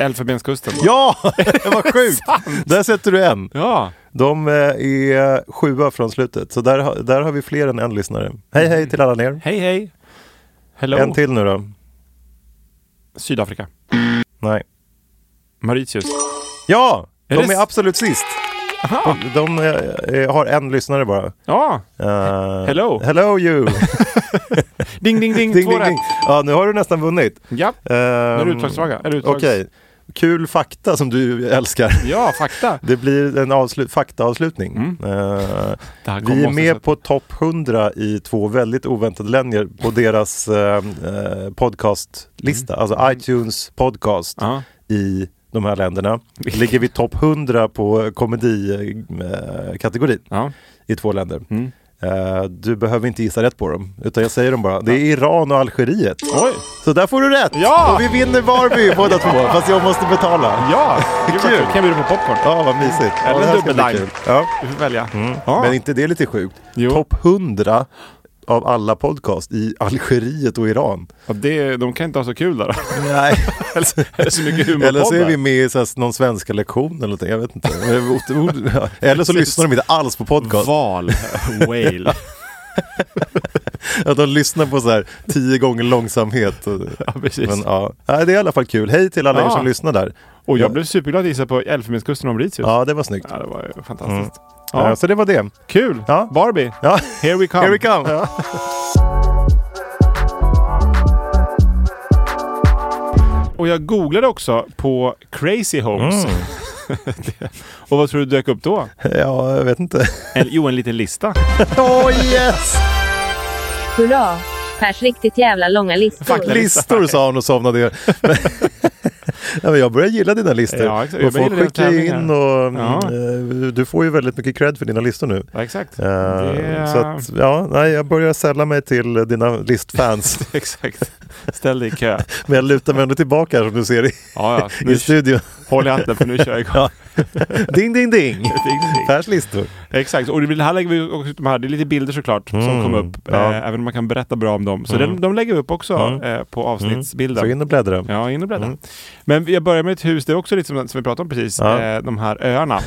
S2: Elfenbenskusten.
S1: Ja, det var sjukt! Där sätter du en.
S2: Ja!
S1: De eh, är sjua från slutet, så där, ha- där har vi fler än en lyssnare. Hej hej till alla er.
S2: Hej, hej! Hello!
S1: En till nu då.
S2: Sydafrika.
S1: Nej.
S2: Mauritius.
S1: Ja,
S2: Är
S1: de
S2: det
S1: är
S2: s-
S1: absolut sist.
S2: Aha.
S1: De, de eh, har en lyssnare bara.
S2: Ja!
S1: Eh,
S2: Hello.
S1: Hello you!
S2: Ding, ding,
S1: ding,
S2: ding! två
S1: ding,
S2: rätt.
S1: ding. Ja, nu har du nästan vunnit.
S2: Ja,
S1: Um,
S2: är du utslagsfråga. Är du utslags-
S1: Okej. Kul fakta som du älskar.
S2: ja fakta.
S1: Det blir en avslu- faktaavslutning. Eh,
S2: Det här Mm. kommer
S1: vi är
S2: måste
S1: med
S2: sätta-
S1: på topp 100 i två väldigt oväntade länder på deras eh, eh, podcastlista, alltså iTunes podcast
S2: Mm. Ja.
S1: i de här länderna. Ligger vi topp 100 på komedikategorin
S2: Ja.
S1: i två länder.
S2: Mm.
S1: Eh, du behöver inte gissa rätt på dem, utan jag säger dem bara. Det är Iran och Algeriet.
S2: Oj!
S1: Så där får du rätt!
S2: Ja!
S1: Och vi vinner Barbie båda två, fast jag måste betala.
S2: Ja! Gud vad
S1: Kul.
S2: kul! Kan jag bjuda på popcorn?
S1: Ja, vad mysigt. Ja,
S2: Eller
S1: det här ska bli
S2: dubbel-lime.
S1: kul. Ja.
S2: Du får välja. Ja.
S1: Mm. Men inte det lite sjukt?
S2: Ah. Jo.
S1: Topp 100 av alla podcast i Algeriet och Iran.
S2: Ja, det, de kan inte ha så kul där.
S1: Nej.
S2: Eller så mycket humorpoddar.
S1: Eller så är vi med i så här, någon svenska lektion eller någonting, jag vet inte. Men det är ot- ot- ja. Eller så lyssnar de inte alls på podcast.
S2: Val. Whale.
S1: Att de lyssnar på så här tio gånger långsamhet.
S2: Ja, precis.
S1: Men, ja. Nej, det är i alla fall kul. Hej till alla er
S2: Ja.
S1: som lyssnar där.
S2: Och jag blev superglad att gissa på Elfenbenskusten och Mauritius.
S1: Ja, det var snyggt.
S2: Ja, det var ju fantastiskt.
S1: Ja.
S2: Ja.
S1: Så det var det.
S2: Kul!
S1: Ja.
S2: Barbie,
S1: Ja.
S2: here we come.
S1: Here we come.
S2: Och jag googlade också på crazy homes. och vad tror du dök upp då?
S1: Ja, jag vet inte.
S2: En, jo, en liten lista.
S1: Oh yes!
S3: Hurra! Pers riktigt jävla långa listor.
S2: Faktiskt.
S1: Listor sa hon och somnade igen. Men- Ja, men jag börjar gilla dina listor.
S2: Ja, exakt.
S1: och
S2: Jag börjar
S1: folk skickar
S2: gilla dina
S1: ju in och mm,
S2: Ja.
S1: eh, du får ju väldigt mycket cred för dina listor nu.
S2: Ja, exakt.
S1: Eh,
S2: Det-
S1: Så att, ja, nej, jag börjar sälla mig till eh, dina listfans.
S2: Exakt. Ställ dig i kö.
S1: men jag lutar mig ändå tillbaka här som du ser i,
S2: Ja, ja.
S1: i
S2: Nu,
S1: studion.
S2: håll i hatten för nu kör jag igång.
S1: Ja. ding, ding, ding!
S2: Ding, ding.
S1: Pers listor.
S2: Exakt, och det här lägger vi också ut de här, det är lite bilder såklart som kom upp,
S1: Mm. Ja. Mm.
S2: eh, även om man kan berätta bra om dem. Så de, de lägger vi upp också eh, på avsnittsbilden.
S1: Så in och bläddra.
S2: Ja, in och bläddra.
S1: Mm.
S2: Men jag börjar med ett hus, det är också lite som, som vi pratade om precis,
S1: Ja.
S2: eh, de här öarna.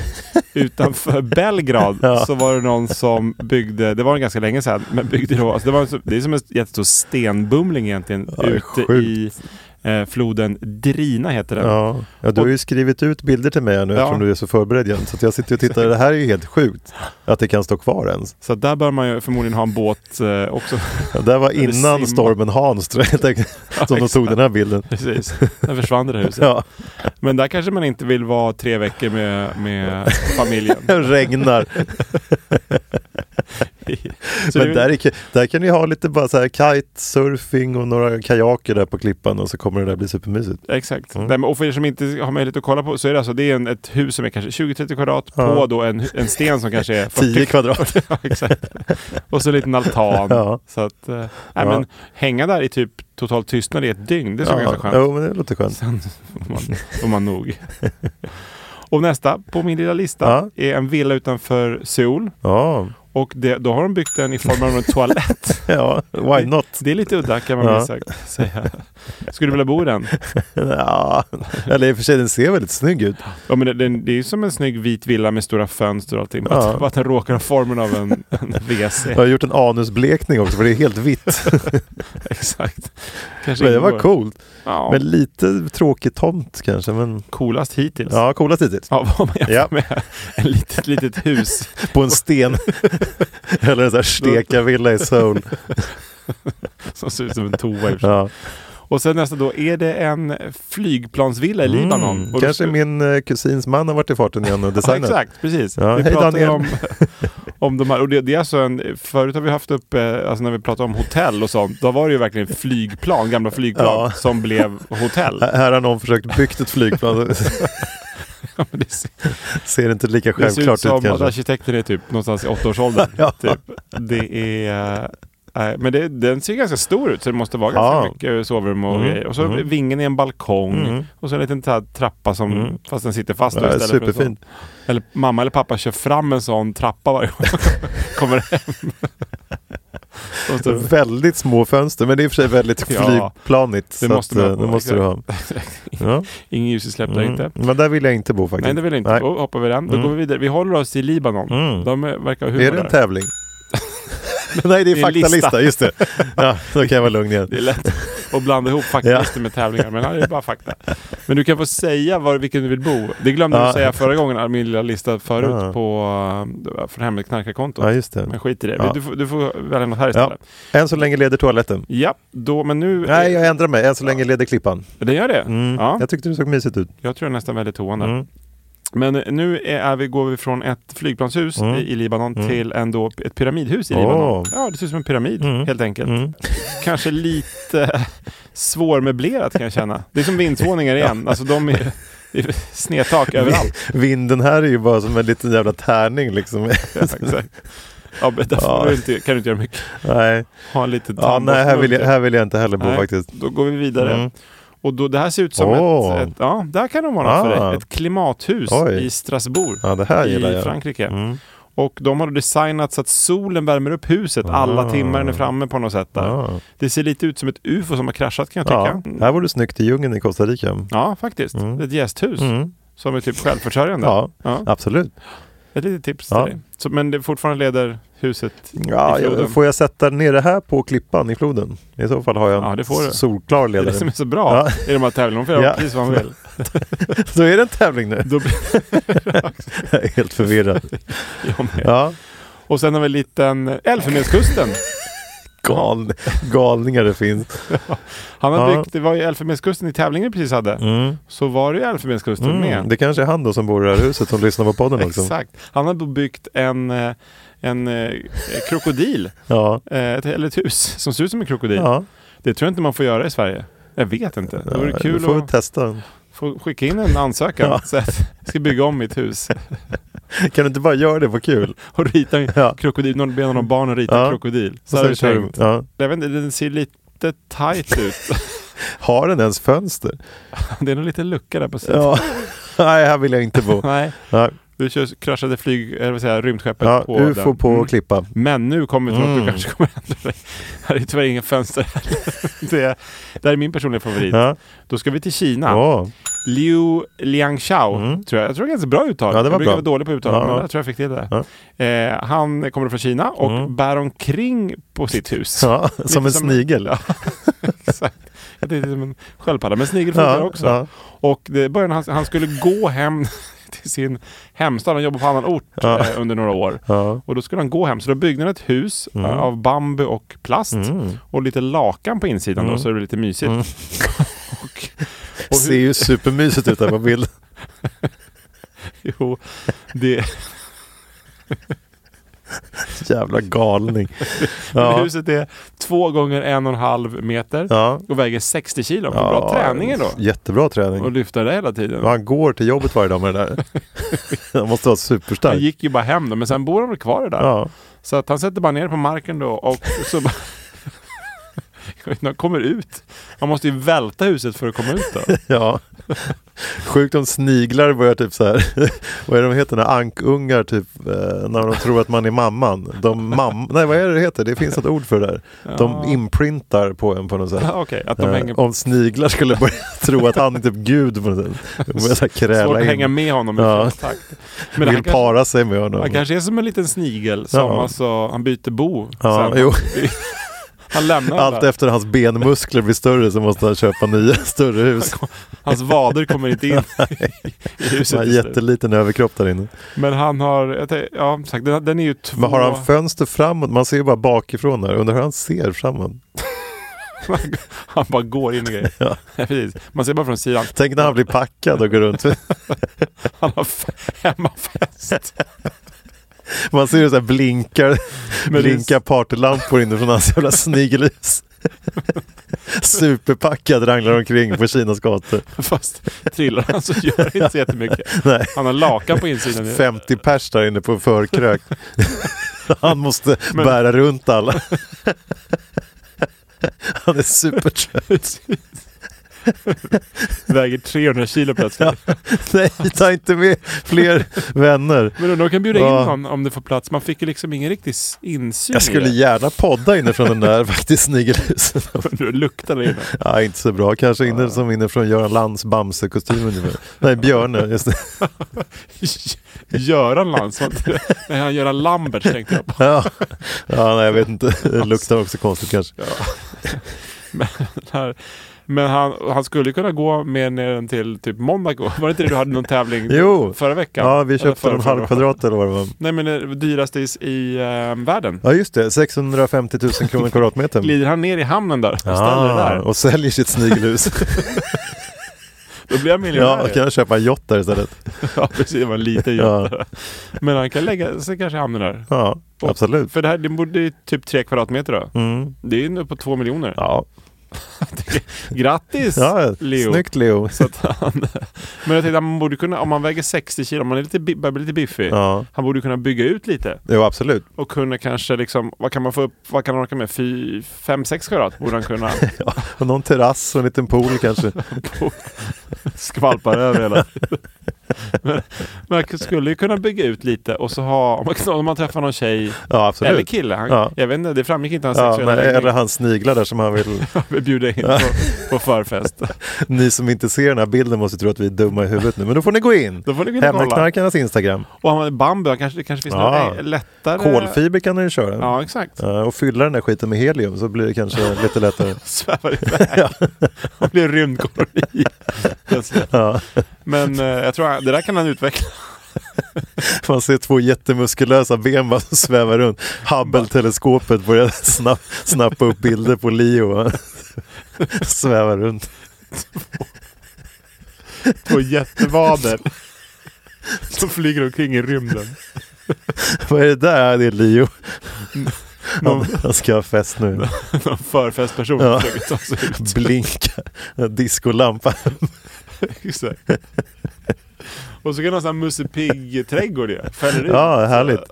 S2: Utanför Belgrad
S1: Ja.
S2: så var det någon som byggde, det var ganska länge sedan, men byggde då, alltså det, var en, så- det är som en jättestor stenbumling egentligen
S1: Ja, det är
S2: ute
S1: sjukt.
S2: i eh, floden Drina heter den.
S1: Ja. Ja, du har ju skrivit ut bilder till mig här nu
S2: Ja.
S1: eftersom du är så förberedd igen. Så att jag sitter och tittar. Det här är ju helt sjukt att det kan stå kvar ens.
S2: Så där bör man ju förmodligen ha en båt eh, också.
S1: Ja, Det var
S2: Eller simma.
S1: innan stormen Hans tror jag, helt enkelt, som de tog den här bilden.
S2: Precis, där försvann det där huset.
S1: Ja,
S2: Men där kanske man inte vill vara tre veckor med, med familjen.
S1: det regnar.
S2: Så
S1: Men
S2: det-
S1: där, är, ki- där kan ni ha lite bara så här kitesurfing och några kajaker där på klippan och så kommer det där bli supermysigt.
S2: Exakt.
S1: Mm.
S2: Nej, men, och för er som inte har möjlighet att kolla på så är det alltså det är en, ett hus som är kanske 20-30 kvadrat på då en, en sten som kanske är 40
S1: 10 kvadrat.
S2: ja, exakt. Och så en liten altan.
S1: Ja.
S2: Så att, eh, nej, men, hänga där i typ total tystnad i ett dygn, det är så
S1: Ja,
S2: ganska skönt.
S1: jo, men det låter skönt.
S2: Sen får man, får man nog. och nästa på min lilla lista
S1: Ja.
S2: är en villa utanför Seoul.
S1: Ja,
S2: Och det, då har de byggt den i form av en toalett.
S1: ja why not?
S2: Det är lite udda kan man
S1: Ja.
S2: minst sagt säga. Skulle du vilja bo i den?
S1: Ja. Eller i och för sig, den ser väldigt snygg ut.
S2: Ja, men det, det, det är ju som en snygg vit villa med stora fönster och allting. Bara
S1: Ja.
S2: att- bara att den råkar ha formen av en, en WC.
S1: Jag har gjort en anusblekning också för det är helt vitt.
S2: Exakt. Kanske
S1: Men det var
S2: ingår.
S1: coolt.
S2: Ja,
S1: Men lite tråkig tomt kanske. Men...
S2: coolast hittills. Ja.
S1: Ja, coolast hittills.
S2: vad man jämför
S1: Ja.
S2: med ett litet, litet hus.
S1: På en sten. Eller en sån här stekarvilla i Seoul.
S2: Som ser ut som en toa i och för sig.
S1: Ja.
S2: Och sen nästa då, är det en flygplansvilla i Libanon? Och
S1: Mm.
S2: då-
S1: Kanske min eh, kusins man har varit i farten igen och
S2: Ja,
S1: designat.
S2: exakt, precis.
S1: Ja,
S2: vi
S1: hej,
S2: pratar ju
S1: Daniel.
S2: om, om de här. Och det, det är alltså en, förut har vi haft upp, eh, alltså när vi pratade om hotell och sånt, då var det ju verkligen flygplan, gamla flygplan
S1: Ja.
S2: som blev hotell.
S1: Här- Här har någon försökt byggt ett flygplan.
S2: Det ser,
S1: Ser inte lika
S2: det ser ut
S1: självklart
S2: som
S1: ut
S2: att
S1: kanske.
S2: arkitekten är typ någonstans i åttaårsåldern.
S1: Ja.
S2: typ. Det är... eh, Men det, den ser ganska stor ut så det måste vara ganska
S1: Ja.
S2: mycket sovrum och
S1: Mm,
S2: grejer. Och så
S1: mm.
S2: vingen i en balkong
S1: Mm.
S2: och så en liten så här trappa som,
S1: Mm.
S2: fast den sitter fast. då
S1: Ja, det är
S2: istället för en sån.
S1: superfint.
S2: Eller mamma eller pappa kör fram en sån trappa varje gång de kommer hem. De står-
S1: Väldigt små fönster, men det är i och för sig väldigt
S2: Ja.
S1: flygplanigt.
S2: Det
S1: så
S2: måste
S1: att,
S2: man-
S1: eh, det måste du ha. Ja.
S2: Ingen ljusutsläpp där
S1: Mm.
S2: inte.
S1: Men där vill jag inte bo faktiskt.
S2: Nej, det vill jag inte.
S1: Nej.
S2: Då hoppar vi den. Då
S1: Mm.
S2: går vi vidare. Vi håller oss i Libanon.
S1: Mm.
S2: De eh, verkar ha humor
S1: Är det en
S2: där.
S1: tävling? Nej, det är
S2: Det är en
S1: faktalista.
S2: lista.
S1: Just det. Ja, då kan jag vara lugn igen.
S2: Det är lätt att blanda ihop faktalistor med tävlingar, men här är det bara fakta. Men du kan få säga var, vilken du vill bo. Det glömde du
S1: Ja.
S2: säga förra gången, min lilla lista förut,
S1: Ja.
S2: på, eh, från hemligt knarkarkonto.
S1: Ja, just det.
S2: Men skit i det.
S1: Ja.
S2: Du, får, du får välja något här
S1: Ja.
S2: istället.
S1: Än så länge leder toaletten.
S2: Ja, då, men nu...
S1: Nej, jag ändrar mig. Än så länge leder klippan.
S2: Den gör det?
S1: Mm.
S2: Ja,
S1: Jag tyckte det såg mysigt ut.
S2: jag tror jag nästan väldigt toan där.
S1: Mm.
S2: Men eh, nu är är vi, går vi från ett flygplanshus
S1: Mm.
S2: i, i Libanon
S1: Mm.
S2: till en då, ett pyramidhus i
S1: Åh.
S2: Libanon. Ja, det ser ut som en pyramid
S1: Mm.
S2: helt enkelt.
S1: Mm.
S2: Kanske lite svårmöblerat kan jag känna. Det är som vindsvåningar igen. Alltså de är, det är snedtak överallt.
S1: Vinden här är ju bara som en liten jävla tärning liksom.
S2: Ja, exakt. Ja, men där får
S1: Ja.
S2: Du inte, kan du inte göra mycket.
S1: nej.
S2: Ha en liten
S1: Ja, nej här, vill jag, här vill jag inte heller bo
S2: Nej.
S1: faktiskt.
S2: Då går vi vidare.
S1: Mm.
S2: Och då, det här ser ut som
S1: Åh.
S2: ett, ett... Ja, där kan det vara något för
S1: Ah.
S2: dig. Ett klimathus
S1: Oj.
S2: i Strasbourg.
S1: Ja, det här gillar
S2: I
S1: jag.
S2: Frankrike.
S1: Mm.
S2: Och de har designat så att solen värmer upp huset alla
S1: Ah.
S2: timmar den är framme på något sätt. Där.
S1: Ja.
S2: Det ser lite ut som ett UFO som har kraschat kan jag
S1: Ja.
S2: tycka. Ja,
S1: Här var du snyggt i djungeln i Costa Rica.
S2: faktiskt.
S1: Mm.
S2: Ett gästhus
S1: Mm.
S2: som är typ självförsörjande.
S1: Ja,
S2: Ja.
S1: absolut.
S2: Ett litet tips
S1: Ja.
S2: till dig. Så, men det fortfarande leder huset
S1: Ja,
S2: i floden.
S1: jag, får jag sätta ner det här på klippan i floden? I så fall har jag en
S2: Ja, det får du.
S1: solklar
S2: Det är det som
S1: ledare.
S2: är så bra
S1: Ja.
S2: i de här tävlingarna. De får göra
S1: Ja.
S2: precis vad man vill.
S1: Då är det en tävling nu.
S2: Då blir
S1: Jag är helt förvirrad.
S2: jag med.
S1: Ja.
S2: Och sen har vi en liten Elfenbenskusten.
S1: Gal, galningar det finns.
S2: Han har
S1: Ja.
S2: byggt, det var ju Elfenbenskusten i tävlingen vi precis hade.
S1: Mm.
S2: Så var det ju Elfenbenskusten med.
S1: Mm. Det kanske är han då som bor i det här huset som lyssnar på podden också.
S2: Exakt. Han har byggt en, eh, en eh, krokodil,
S1: Ja.
S2: eh, ett- eller ett hus som ser ut som en krokodil.
S1: Ja,
S2: Det tror jag inte man får göra i Sverige. Jag vet inte. Det vore
S1: ja,
S2: kul
S1: då får vi
S2: att
S1: testa.
S2: få skicka in en ansökan.
S1: Ja.
S2: Så att jag ska bygga om mitt hus.
S1: Kan du inte bara göra det på kul?
S2: Och rita en
S1: Ja.
S2: krokodil. Någon ber någon barn att rita
S1: Ja.
S2: en krokodil. Så
S1: Sen
S2: har jag
S1: kör du-
S2: tänkt.
S1: Ja.
S2: Jag vet inte, den ser lite tight ut.
S1: Har den ens fönster?
S2: Det är nog lite lucka där på sidan.
S1: Ja. Nej, här vill jag inte bo.
S2: Nej,
S1: Nej.
S2: du kör, kraschade flyg, eller vad säger jag, rymdskeppet
S1: Ja,
S2: på
S1: UFO
S2: den.
S1: på
S2: Mm.
S1: klippa.
S2: Men nu kommer vi till något du
S1: Mm.
S2: kanske kommer ändra dig. Här är tyvärr inga fönster heller. det, det här är min personliga favorit.
S1: Ja.
S2: Då ska vi till Kina.
S1: Ja.
S2: Liu Liangshao,
S1: Mm.
S2: tror jag. Jag tror det är ganska bra uttal.
S1: Ja, det var
S2: jag brukar
S1: bra.
S2: vara dålig på uttal,
S1: Ja,
S2: men
S1: ja.
S2: jag tror jag fick till det.
S1: Ja.
S2: Eh, han kommer från Kina och
S1: Mm.
S2: bär omkring på sitt hus.
S1: Ja,
S2: Lite
S1: som en snigel.
S2: Ja, exakt. Jag tänkte som en sköldpadda, men snigel funkar
S1: Ja,
S2: också.
S1: ja.
S2: Och det började, han, han skulle gå hem till sin hemstad, han jobbade på annan ort
S1: Ja.
S2: eh, under några år.
S1: ja.
S2: Och då skulle han gå hem, så då byggde han ett hus
S1: Mm.
S2: eh, av bambu och plast
S1: Mm.
S2: och lite lakan på insidan då,
S1: Mm.
S2: så det blir lite mysigt.
S1: Mm.
S2: och,
S1: Det ser ju supermysigt ut där på bild.
S2: jo, det,
S1: Jävla galning.
S2: Men
S1: Ja,
S2: Huset är två gånger en och en halv meter
S1: ja.
S2: och väger 60 kilo. Ja. Bra träning ändå.
S1: Jättebra träning.
S2: Och lyfta det hela tiden.
S1: Och Han går till jobbet varje dag med det där. Han måste vara superstark.
S2: Han gick ju bara hem då, men sen bor han väl kvar där.
S1: Ja.
S2: Så att han sätter bara ner på marken då och så bara... Jag vet inte, han kommer ut. Man måste ju välta huset för att komma ut då.
S1: ja. Sjukt om sniglar börjar typ så här. vad är det de heter? När ankungar typ. Eh, när de tror att man är mamman. De mam Nej vad är det det heter? Det finns ett ord för det där.
S2: Ja.
S1: De inprintar på en på något sätt.
S2: Ja, Okej, att de
S1: Eh,
S2: hänger på.
S1: Om sniglar skulle börja tro att han är typ gud på något sätt. De börjar så här
S2: Svårt
S1: kräla
S2: att
S1: in.
S2: hänga med honom i
S1: Ja.
S2: ja. takt. Men han
S1: vill
S2: kanske,
S1: para sig med honom.
S2: han kanske är som en liten snigel som
S1: Ja.
S2: alltså, han byter bo.
S1: ja,
S2: sen.
S1: jo.
S2: Han lämnar den
S1: Allt
S2: där.
S1: efter hans benmuskler blir större så måste han köpa nya större hus.
S2: Hans vader kommer inte in i
S1: Han
S2: huset.
S1: har
S2: till slut.
S1: jätteliten överkropp där inne.
S2: Men han har, jag tänk- ja som sagt, den, den är ju två...
S1: Men har han fönster framåt? Man ser ju bara bakifrån där. Undrar hur han ser framåt.
S2: Han bara går in i grejer.
S1: Ja.
S2: Precis. Man ser bara från sidan.
S1: Tänk när han blir packad och går runt.
S2: Han har f- hemmafest.
S1: Man ser hur så här blinkar,
S2: Men det är-
S1: blinkar partylampor inifrån hans jävla snigelhus. Superpackad ranglar omkring på Kinas gator.
S2: Fast trillar han så gör det inte så jättemycket.
S1: Nej.
S2: Han har lakan på insidan.
S1: 50 pers där inne på en förkrök. Han måste
S2: Men-
S1: bära runt alla. Han är supertrött.
S2: Väger 300 kilo plötsligt.
S1: Nej, ta inte med fler vänner.
S2: Men undrar om de kan bjuda
S1: Ja.
S2: in någon om det får plats. Man fick ju liksom ingen riktig s- insyn
S1: Jag skulle
S2: i det.
S1: gärna podda inifrån den där faktiskt snigelhusen.
S2: Nu luktar det inne.
S1: Ja, inte så bra. Kanske inne, som inifrån Göran Lands Bamse-kostym ungefär. Nej, Björne. Just det.
S2: Göran Landsman. Nej, han Göran Lambert tänkte jag på.
S1: Ja, ja nej, jag vet inte. Det luktar också konstigt kanske.
S2: Här. Men han, han skulle kunna gå med ner den till typ Monaco. Var det inte det du hade någon tävling
S1: Jo.
S2: förra veckan?
S1: Ja, vi
S2: Eller
S1: köpte
S2: förra-
S1: en halv
S2: förra-
S1: kvadrat eller vad det var.
S2: Nej men det dyraste i, i eh, världen.
S1: Ja, just det. 650 000 kronor kvadratmetern.
S2: Glider han ner i hamnen där och ställer det
S1: Ah,
S2: där.
S1: och säljer sitt snigelhus.
S2: Då blir han
S1: ja,
S2: miljonär.
S1: och kan jag köpa en yacht där istället.
S2: ja precis, det var en liten
S1: Ja.
S2: jätte. Men han kan lägga sig kanske i hamnen där.
S1: Ja,
S2: Och-
S1: absolut.
S2: För det här det borde ju typ tre kvadratmeter då.
S1: Mm.
S2: Det är ju nu på två miljoner.
S1: Ja,
S2: Grattis
S1: ja
S2: Leo!
S1: snyggt Leo.
S2: Så att han, men jag tänkte att man borde kunna, om man väger 60 kilo, om man är lite, bi- börjar bli lite biffig.
S1: Ja,
S2: Han borde kunna bygga ut lite
S1: jo, absolut.
S2: och kunna kanske liksom, vad kan man få upp, vad kan han orka med? 5-6 kvadrat borde han kunna
S1: Och någon terrass och en liten pool kanske.
S2: skvalpa över hela men, Man skulle ju kunna bygga ut lite och så ha, om man, om man träffar någon tjej
S1: Ja,
S2: eller
S1: absolut.
S2: kille, han,
S1: Ja.
S2: jag vet inte, det framgick inte hans
S1: Ja,
S2: sexuella
S1: men,
S2: läggning.
S1: eller hans sniglar där som han vill.
S2: Vi bjuder in på, på förfest.
S1: Ni som inte ser den här bilden måste tro att vi är dumma i huvudet nu. Men då får ni gå in.
S2: Då får ni gå in och kolla.
S1: Hemmaknarkarnas Instagram.
S2: Och har man bambu, han kanske, det kanske finns
S1: Ja.
S2: några eh, lättare...
S1: Kolfiber kan ni ju köra.
S2: Ja, exakt.
S1: Eh, Och fylla den där skiten med helium så blir det kanske lite lättare.
S2: svävar iväg. Han blir en rymdkoloni. plötsligt.
S1: Ja.
S2: Men eh, jag tror han, det där kan han utveckla.
S1: Man ser två jättemuskulösa ben bara som svävar runt. Hubble-teleskopet börjar snapp, snappa upp bilder på Leo. svävar runt.
S2: Två jättevader. Som flyger omkring i rymden.
S1: Vad är det där? Det är Leo.
S2: Någon,
S1: Han ska ha fest nu.
S2: någon förfestperson
S1: Ja.
S2: försöker ta sig ut.
S1: Blinka. Diskolampa.
S2: Exakt. Och så kan han ha sån här Musse Pigg-trädgård ju. Fäller ut.
S1: Ja, härligt.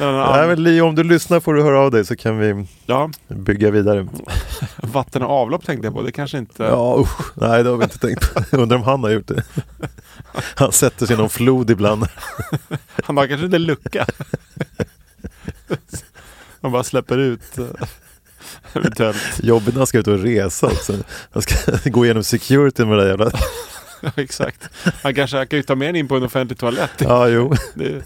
S2: När han har-
S1: Nej, men Leo, om du lyssnar får du höra av dig så kan vi
S2: ja,
S1: bygga vidare.
S2: vatten och avlopp tänkte jag på. Det kanske inte...
S1: Ja, usch. Nej, det har vi inte tänkt på. Undrar om han har gjort det. Han sätter sig i någon flod ibland.
S2: Han har kanske inte lucka. Han bara släpper ut. eh, Eventuellt.
S1: Jobbigt när han ska ut och resa också. Han ska gå igenom security med det där jävla...
S2: Ja, Exakt. Han kanske kan ju ta med en in på en offentlig toalett.
S1: Ja, jo.
S2: Det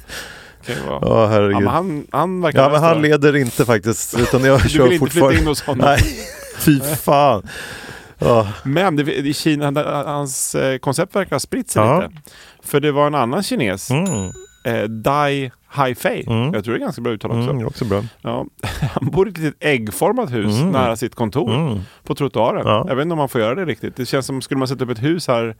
S2: kan ju vara.
S1: Ja,
S2: Ja, men
S1: herregud.
S2: han, han verkar
S1: Ja, men han
S2: lösa det.
S1: leder inte faktiskt. Utan jag
S2: Du vill
S1: kör
S2: inte flytta in
S1: fortfarande.
S2: hos honom.
S1: Nej, fy fan. Ja,
S2: Men det, i Kina, där- hans eh, koncept verkar ha spritt sig
S1: Ja.
S2: lite. För det var en annan kines,
S1: mm,
S2: eh, Dai Haifei.
S1: Mm.
S2: Jag tror det är ganska bra uttal också.
S1: mm, också bra.
S2: Ja. Han bor i ett litet äggformat hus
S1: Mm.
S2: nära sitt kontor
S1: Mm.
S2: på trottoaren.
S1: Ja.
S2: Jag vet inte om man får göra det riktigt. Det känns som, skulle man sätta upp ett hus här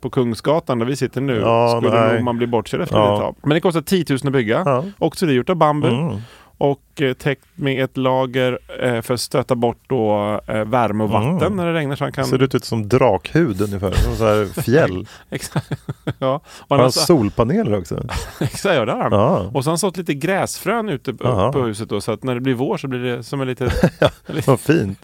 S2: på Kungsgatan där vi sitter nu,
S1: Ja,
S2: skulle
S1: nej.
S2: nog man bli bortkörd efter
S1: Ja.
S2: ett tag. Men det kostar 10 000 att bygga.
S1: Ja.
S2: Också det är gjort av bambu.
S1: Mm.
S2: och eh, täckt med ett lager eh, för att stöta bort då, eh, värme och vatten
S1: Mm.
S2: när det regnar. Så han kan...
S1: Ser ut som drakhud ungefär. Som så här fjäll.
S2: Exakt. ja. Och
S1: Har
S2: han har
S1: han
S2: så...
S1: solpaneler också?
S2: Exakt, ja, det har han.
S1: Ja.
S2: Och så har han sått lite gräsfrön ute på,
S1: Jaha.
S2: på huset då, så att när det blir vår så blir det som en liten...
S1: Vad fint.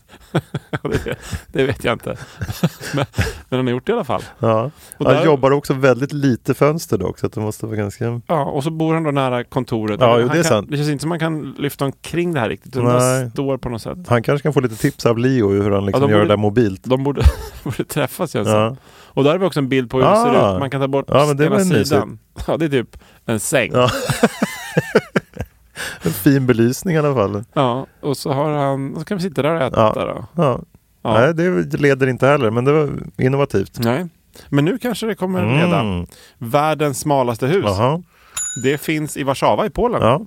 S2: det, det vet jag inte. men, men han har gjort det i alla fall.
S1: Ja.
S2: Och
S1: Han
S2: där-
S1: jobbar också väldigt lite fönster dock, så att det måste vara ganska...
S2: Ja, och så bor han då nära kontoret.
S1: Ja,
S2: Han
S1: jo, det är
S2: kan,
S1: sant.
S2: Det känns inte som man kan lyfta omkring det här riktigt, utan
S1: Nej.
S2: han står på något sätt.
S1: Han kanske kan få lite tips av Leo hur han liksom
S2: Ja, de
S1: gör
S2: borde- Alltså.
S1: det där mobilt.
S2: De borde, borde träffas känns det som.
S1: Ja.
S2: Och där har vi också en bild på hur det ser
S1: Ah.
S2: ut. Man kan ta bort
S1: Ja, men det
S2: ena
S1: var mysigt.
S2: sidan. Ja, det är typ en säng. Ja.
S1: Ja. En fin belysning i alla fall.
S2: och så har han, så kan vi sitta där och äta.
S1: Ja.
S2: Då.
S1: Ja.
S2: Ja.
S1: Nej, det leder inte heller, men det var innovativt.
S2: Nej. Men nu kanske det kommer leda. Världens smalaste hus.
S1: Mm. Jaha.
S2: Det finns i Warszawa i Polen.
S1: Ja.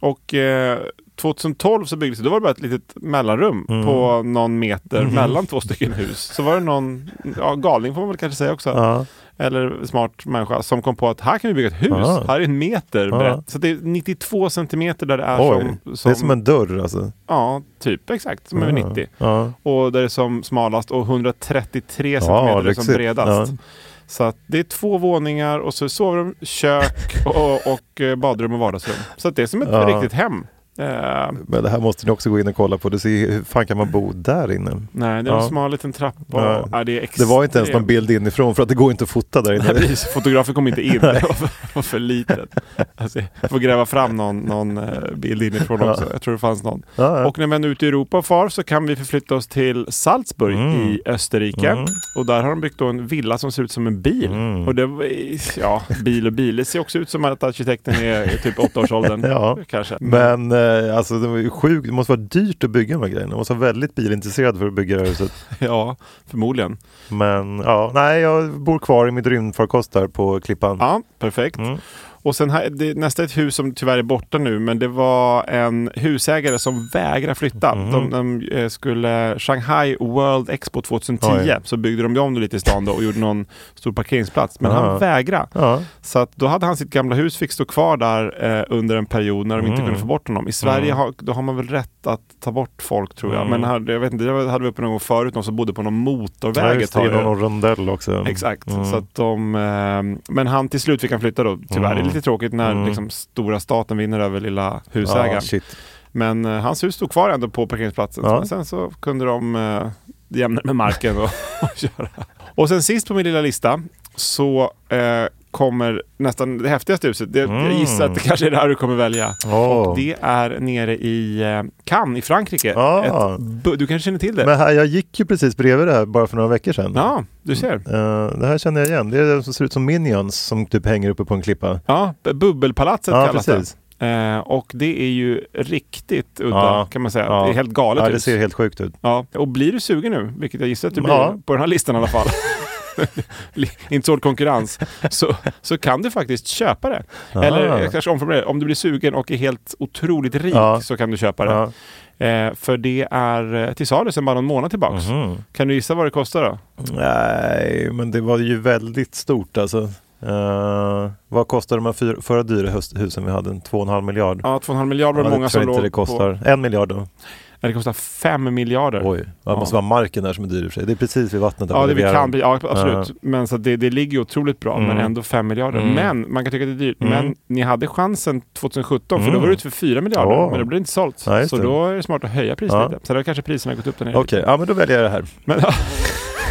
S2: Och eh, 2012 så byggdes det, då var det bara ett litet mellanrum
S1: Mm.
S2: på någon meter mellan två stycken hus. Så var det någon, ja, galning får man väl kanske säga också,
S1: Ja.
S2: eller smart människa som kom på att här kan vi bygga ett hus,
S1: Ja.
S2: här är en meter
S1: Ja.
S2: brett. Så det är 92 centimeter där det är
S1: Oj,
S2: som,
S1: det är som en dörr alltså.
S2: Ja, typ exakt, som över
S1: Ja.
S2: 90.
S1: Ja.
S2: Och där det är som smalast och 133
S1: Ja,
S2: centimeter är som
S1: lyxigt.
S2: bredast.
S1: Ja.
S2: Så att det är två våningar och så sovrum, kök och, och eh, badrum och vardagsrum. Så att det är som ett
S1: Ja.
S2: riktigt hem. Eh,
S1: Men det här måste ni också gå in och kolla på. Du ser, ju- hur fan kan man bo där inne?
S2: nej, det är en
S1: Ja.
S2: smal liten trappa.
S1: Nej.
S2: Och, ja, det, är
S1: Det var inte ens någon
S2: extremt-
S1: bild inifrån för att det går inte att fota där
S2: Nej,
S1: inne.
S2: precis. Fotografen kom inte in. Det var för, var för litet. Alltså, jag får gräva fram någon, någon eh, bild inifrån
S1: Ja.
S2: också. Jag tror det fanns någon.
S1: Ja, ja.
S2: Och när vi är ute i Europa far så kan vi förflytta oss till Salzburg
S1: Mm.
S2: i Österrike. Och där har de byggt då en villa som ser ut som en bil.
S1: Mm.
S2: Och det, var- ja, bil och bil. Det ser också ut som att arkitekten är i typ åttaårsåldern.
S1: Ja.
S2: Kanske.
S1: Men eh, alltså det var ju sjukt, det måste vara dyrt att bygga de här grejerna. Man måste vara väldigt bilintresserad för att bygga det här huset.
S2: Ja, förmodligen.
S1: Men ja, nej jag bor kvar i mitt rymdfarkost där på Klippan.
S2: Ja, perfekt.
S1: Mm.
S2: Och sen här, det, nästa är ett hus som tyvärr är borta nu, men det var en husägare som vägrade flytta.
S1: Mm.
S2: De, de eh, skulle Shanghai World Expo 2010,
S1: Oj.
S2: så byggde de ju om det lite i stan då och gjorde någon stor parkeringsplats. Men han vägrade.
S1: Ja.
S2: Så att då hade han sitt gamla hus fick stå kvar där eh, under en period när de
S1: Mm.
S2: inte kunde få bort honom. I Sverige har, då har man väl rätt att ta bort folk tror jag.
S1: Mm.
S2: Men här, jag vet inte, det hade vi uppe någon gång förut, någon som bodde på någon
S1: Ja,
S2: motorväg ett
S1: just det,
S2: tag.
S1: genom någon Mm. rondell också.
S2: Exakt. Så att de, eh, men han till slut fick han flytta då tyvärr.
S1: Mm.
S2: Det är lite tråkigt när liksom, stora staten vinner över lilla husägaren.
S1: Ja, shit.
S2: men eh, hans hus stod kvar ändå på parkeringsplatsen.
S1: Ja.
S2: Men sen så kunde de eh, jämna med marken och, och köra. Och sen sist på min lilla lista så eh, kommer nästan det häftigaste huset. Det, Jag gissar att det kanske är det här du kommer välja.
S1: Mm. Åh.
S2: Och det är nere i eh, Cannes i Frankrike.
S1: Ah.
S2: Ett bu- du kanske känner till det?
S1: Men här, jag gick ju precis bredvid det här bara för några veckor sedan.
S2: Ja, du ser.
S1: Eh, det här känner jag igen. Det är den som ser ut som Minions som typ hänger uppe på en klippa.
S2: Ja, b- Bubbelpalatset
S1: Ja,
S2: kallas
S1: precis.
S2: det. Eh, och det är ju riktigt udda
S1: Ja.
S2: kan man säga.
S1: Ja.
S2: Det är helt galet
S1: Ja, det
S2: hus.
S1: ser helt sjukt ut.
S2: ja. Och blir du sugen nu, vilket jag gissar att du blir
S1: Ja.
S2: på den här listan i alla fall. Li- Inte så hård konkurrens. Så, så kan du faktiskt köpa det.
S1: Ah.
S2: Eller jag kanske omformulerar det. Om du blir sugen och är helt otroligt rik
S1: Ja.
S2: så kan du köpa det.
S1: Ja.
S2: Eh, för det är eh, till salu sedan bara någon månad tillbaks.
S1: Mhm.
S2: Kan du gissa vad det kostar då?
S1: Nej, men det var ju väldigt stort alltså. Eh, vad kostade de här fyra, förra dyra hus, husen vi hade? En Två och en halv miljard?
S2: Ja, 2,5 miljarder var det
S1: det
S2: många
S1: tror
S2: som
S1: jag
S2: låg
S1: inte det kostar.
S2: på.
S1: En miljard då?
S2: Nej, det kostar 5 miljarder.
S1: Oj, ja, det måste vara marken där som är dyr i och för sig. Det är precis vid vattnet. där
S2: Ja,
S1: på
S2: det vi
S1: Rivieran.
S2: kan bli, ja absolut. Men så att det, det ligger ju otroligt bra,
S1: Mm.
S2: men ändå 5 miljarder. Men man kan tycka att det är dyrt. Men ni hade chansen 2017, för då var det ute för 4 miljarder,
S1: Mm. Ja.
S2: men då blir det inte sålt.
S1: Nej, just
S2: så
S1: det.
S2: då är det smart att höja priset
S1: Ja.
S2: lite. Så då kanske priserna har gått upp där nere.
S1: Okej, ja men då väljer jag det här.
S2: Men,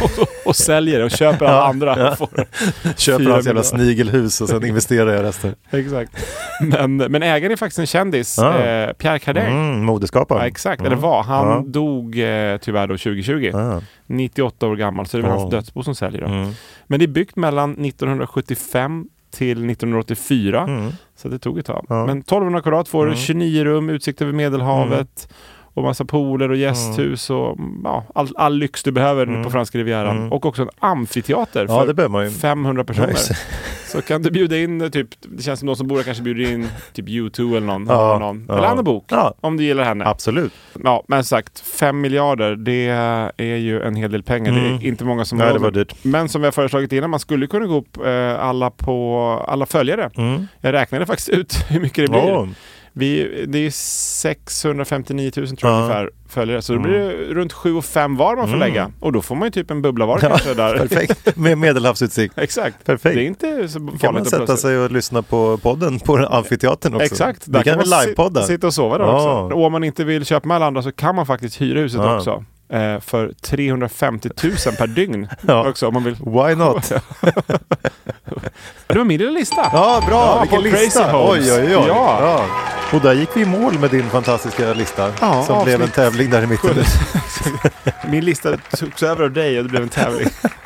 S2: och, och säljer det och köper alla andra. och Får,
S1: Köper
S2: Fyra
S1: hans jävla
S2: miljarder.
S1: snigelhus och sen investerar jag resten.
S2: exakt. Men, men ägaren är faktiskt en kändis,
S1: Ja.
S2: eh, Pierre Cardin.
S1: Mm,
S2: Ja,
S1: modeskaparen.
S2: exakt, eller var. Han
S1: Ja.
S2: dog eh, tyvärr då 2020.
S1: Ja.
S2: 98 år gammal, så det är väl
S1: Ja.
S2: hans dödsbo som säljer dem.
S1: Mm.
S2: Men det är byggt mellan 1975 till 1984, så det tog ett tag.
S1: Mm. Ja. Mm.
S2: Men 1200 kvadrat får du, 29 rum, utsikt över Medelhavet och massa pooler och gästhus
S1: Mm.
S2: och ja, all, all lyx du behöver på franska rivieran. Och också en amfiteater
S1: Ja,
S2: för
S1: det behöver man ju.
S2: 500 personer.
S1: Nice.
S2: Så kan du bjuda in, eh, typ, det känns som någon som bor där kanske bjuder in typ U2 eller någon.
S1: Ja,
S2: någon.
S1: ja.
S2: Eller Anna Bok
S1: Ja.
S2: om du gillar henne.
S1: Absolut.
S2: Ja, men som sagt, 5 miljarder, det är ju en hel del pengar. Det är inte många som
S1: Mm. Nej,
S2: har
S1: det
S2: råd
S1: var
S2: med.
S1: dyrt.
S2: Men som vi har föreslagit innan, man skulle kunna gå upp eh, alla, på, alla följare. Jag räknade faktiskt ut hur mycket det blir.
S1: Mm. Ja.
S2: Vi, det är 659 000 tror jag
S1: Ja. Mm.
S2: ungefär följare, så då blir det runt 7 och 5 var man får lägga. Och då får man ju typ en bubbla var kanske där.
S1: Perfekt, med medelhavsutsikt.
S2: Exakt.
S1: Perfekt.
S2: Det är inte så farligt
S1: kan man
S2: att
S1: sätta
S2: plötsligt-
S1: sig och lyssna på podden på amfiteatern också.
S2: Exakt,
S1: Vi kan väl
S2: man
S1: livepodda.
S2: sit- sitta och sova där
S1: Ja.
S2: också. Och om man inte vill köpa med alla andra så kan man faktiskt hyra huset
S1: Ja.
S2: också. Eh, för 350 000 per dygn
S1: Ja.
S2: också om man vill.
S1: Why not?
S2: Det var min lilla lista.
S1: Ja, bra!
S2: Ja,
S1: Vilken
S2: på
S1: lista!
S2: Crazy Homes.
S1: Oj, oj, oj.
S2: Ja.
S1: Ja. Och där gick vi i mål med din fantastiska lista.
S2: Ja,
S1: som blev en
S2: avsnitt
S1: tävling där i mitten.
S2: Min lista togs över av dig och det blev en tävling.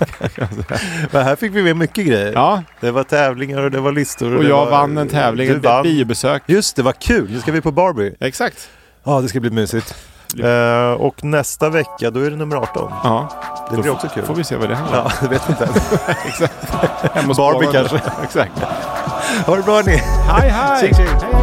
S1: Men här fick vi med mycket grejer.
S2: Ja,
S1: Det var tävlingar och det var listor.
S2: och
S1: det
S2: jag
S1: var...
S2: vann en tävling,
S1: Du
S2: ett ett
S1: vann.
S2: biobesök.
S1: Just det, vad kul! Nu ska vi på Barbie.
S2: Exakt.
S1: Ja, det ska bli mysigt. Eh, och nästa vecka, då är det nummer 18.
S2: Ja,
S1: Det blir också kul.
S2: får vi se vad det handlar om.
S1: Ja, det vet vi inte än.
S2: Hem och
S1: Barbie
S2: spana.
S1: kanske.
S2: Exakt.
S1: Ha det bra hörni!
S2: Hej, hej!
S1: Tjing, tjing.
S2: hej.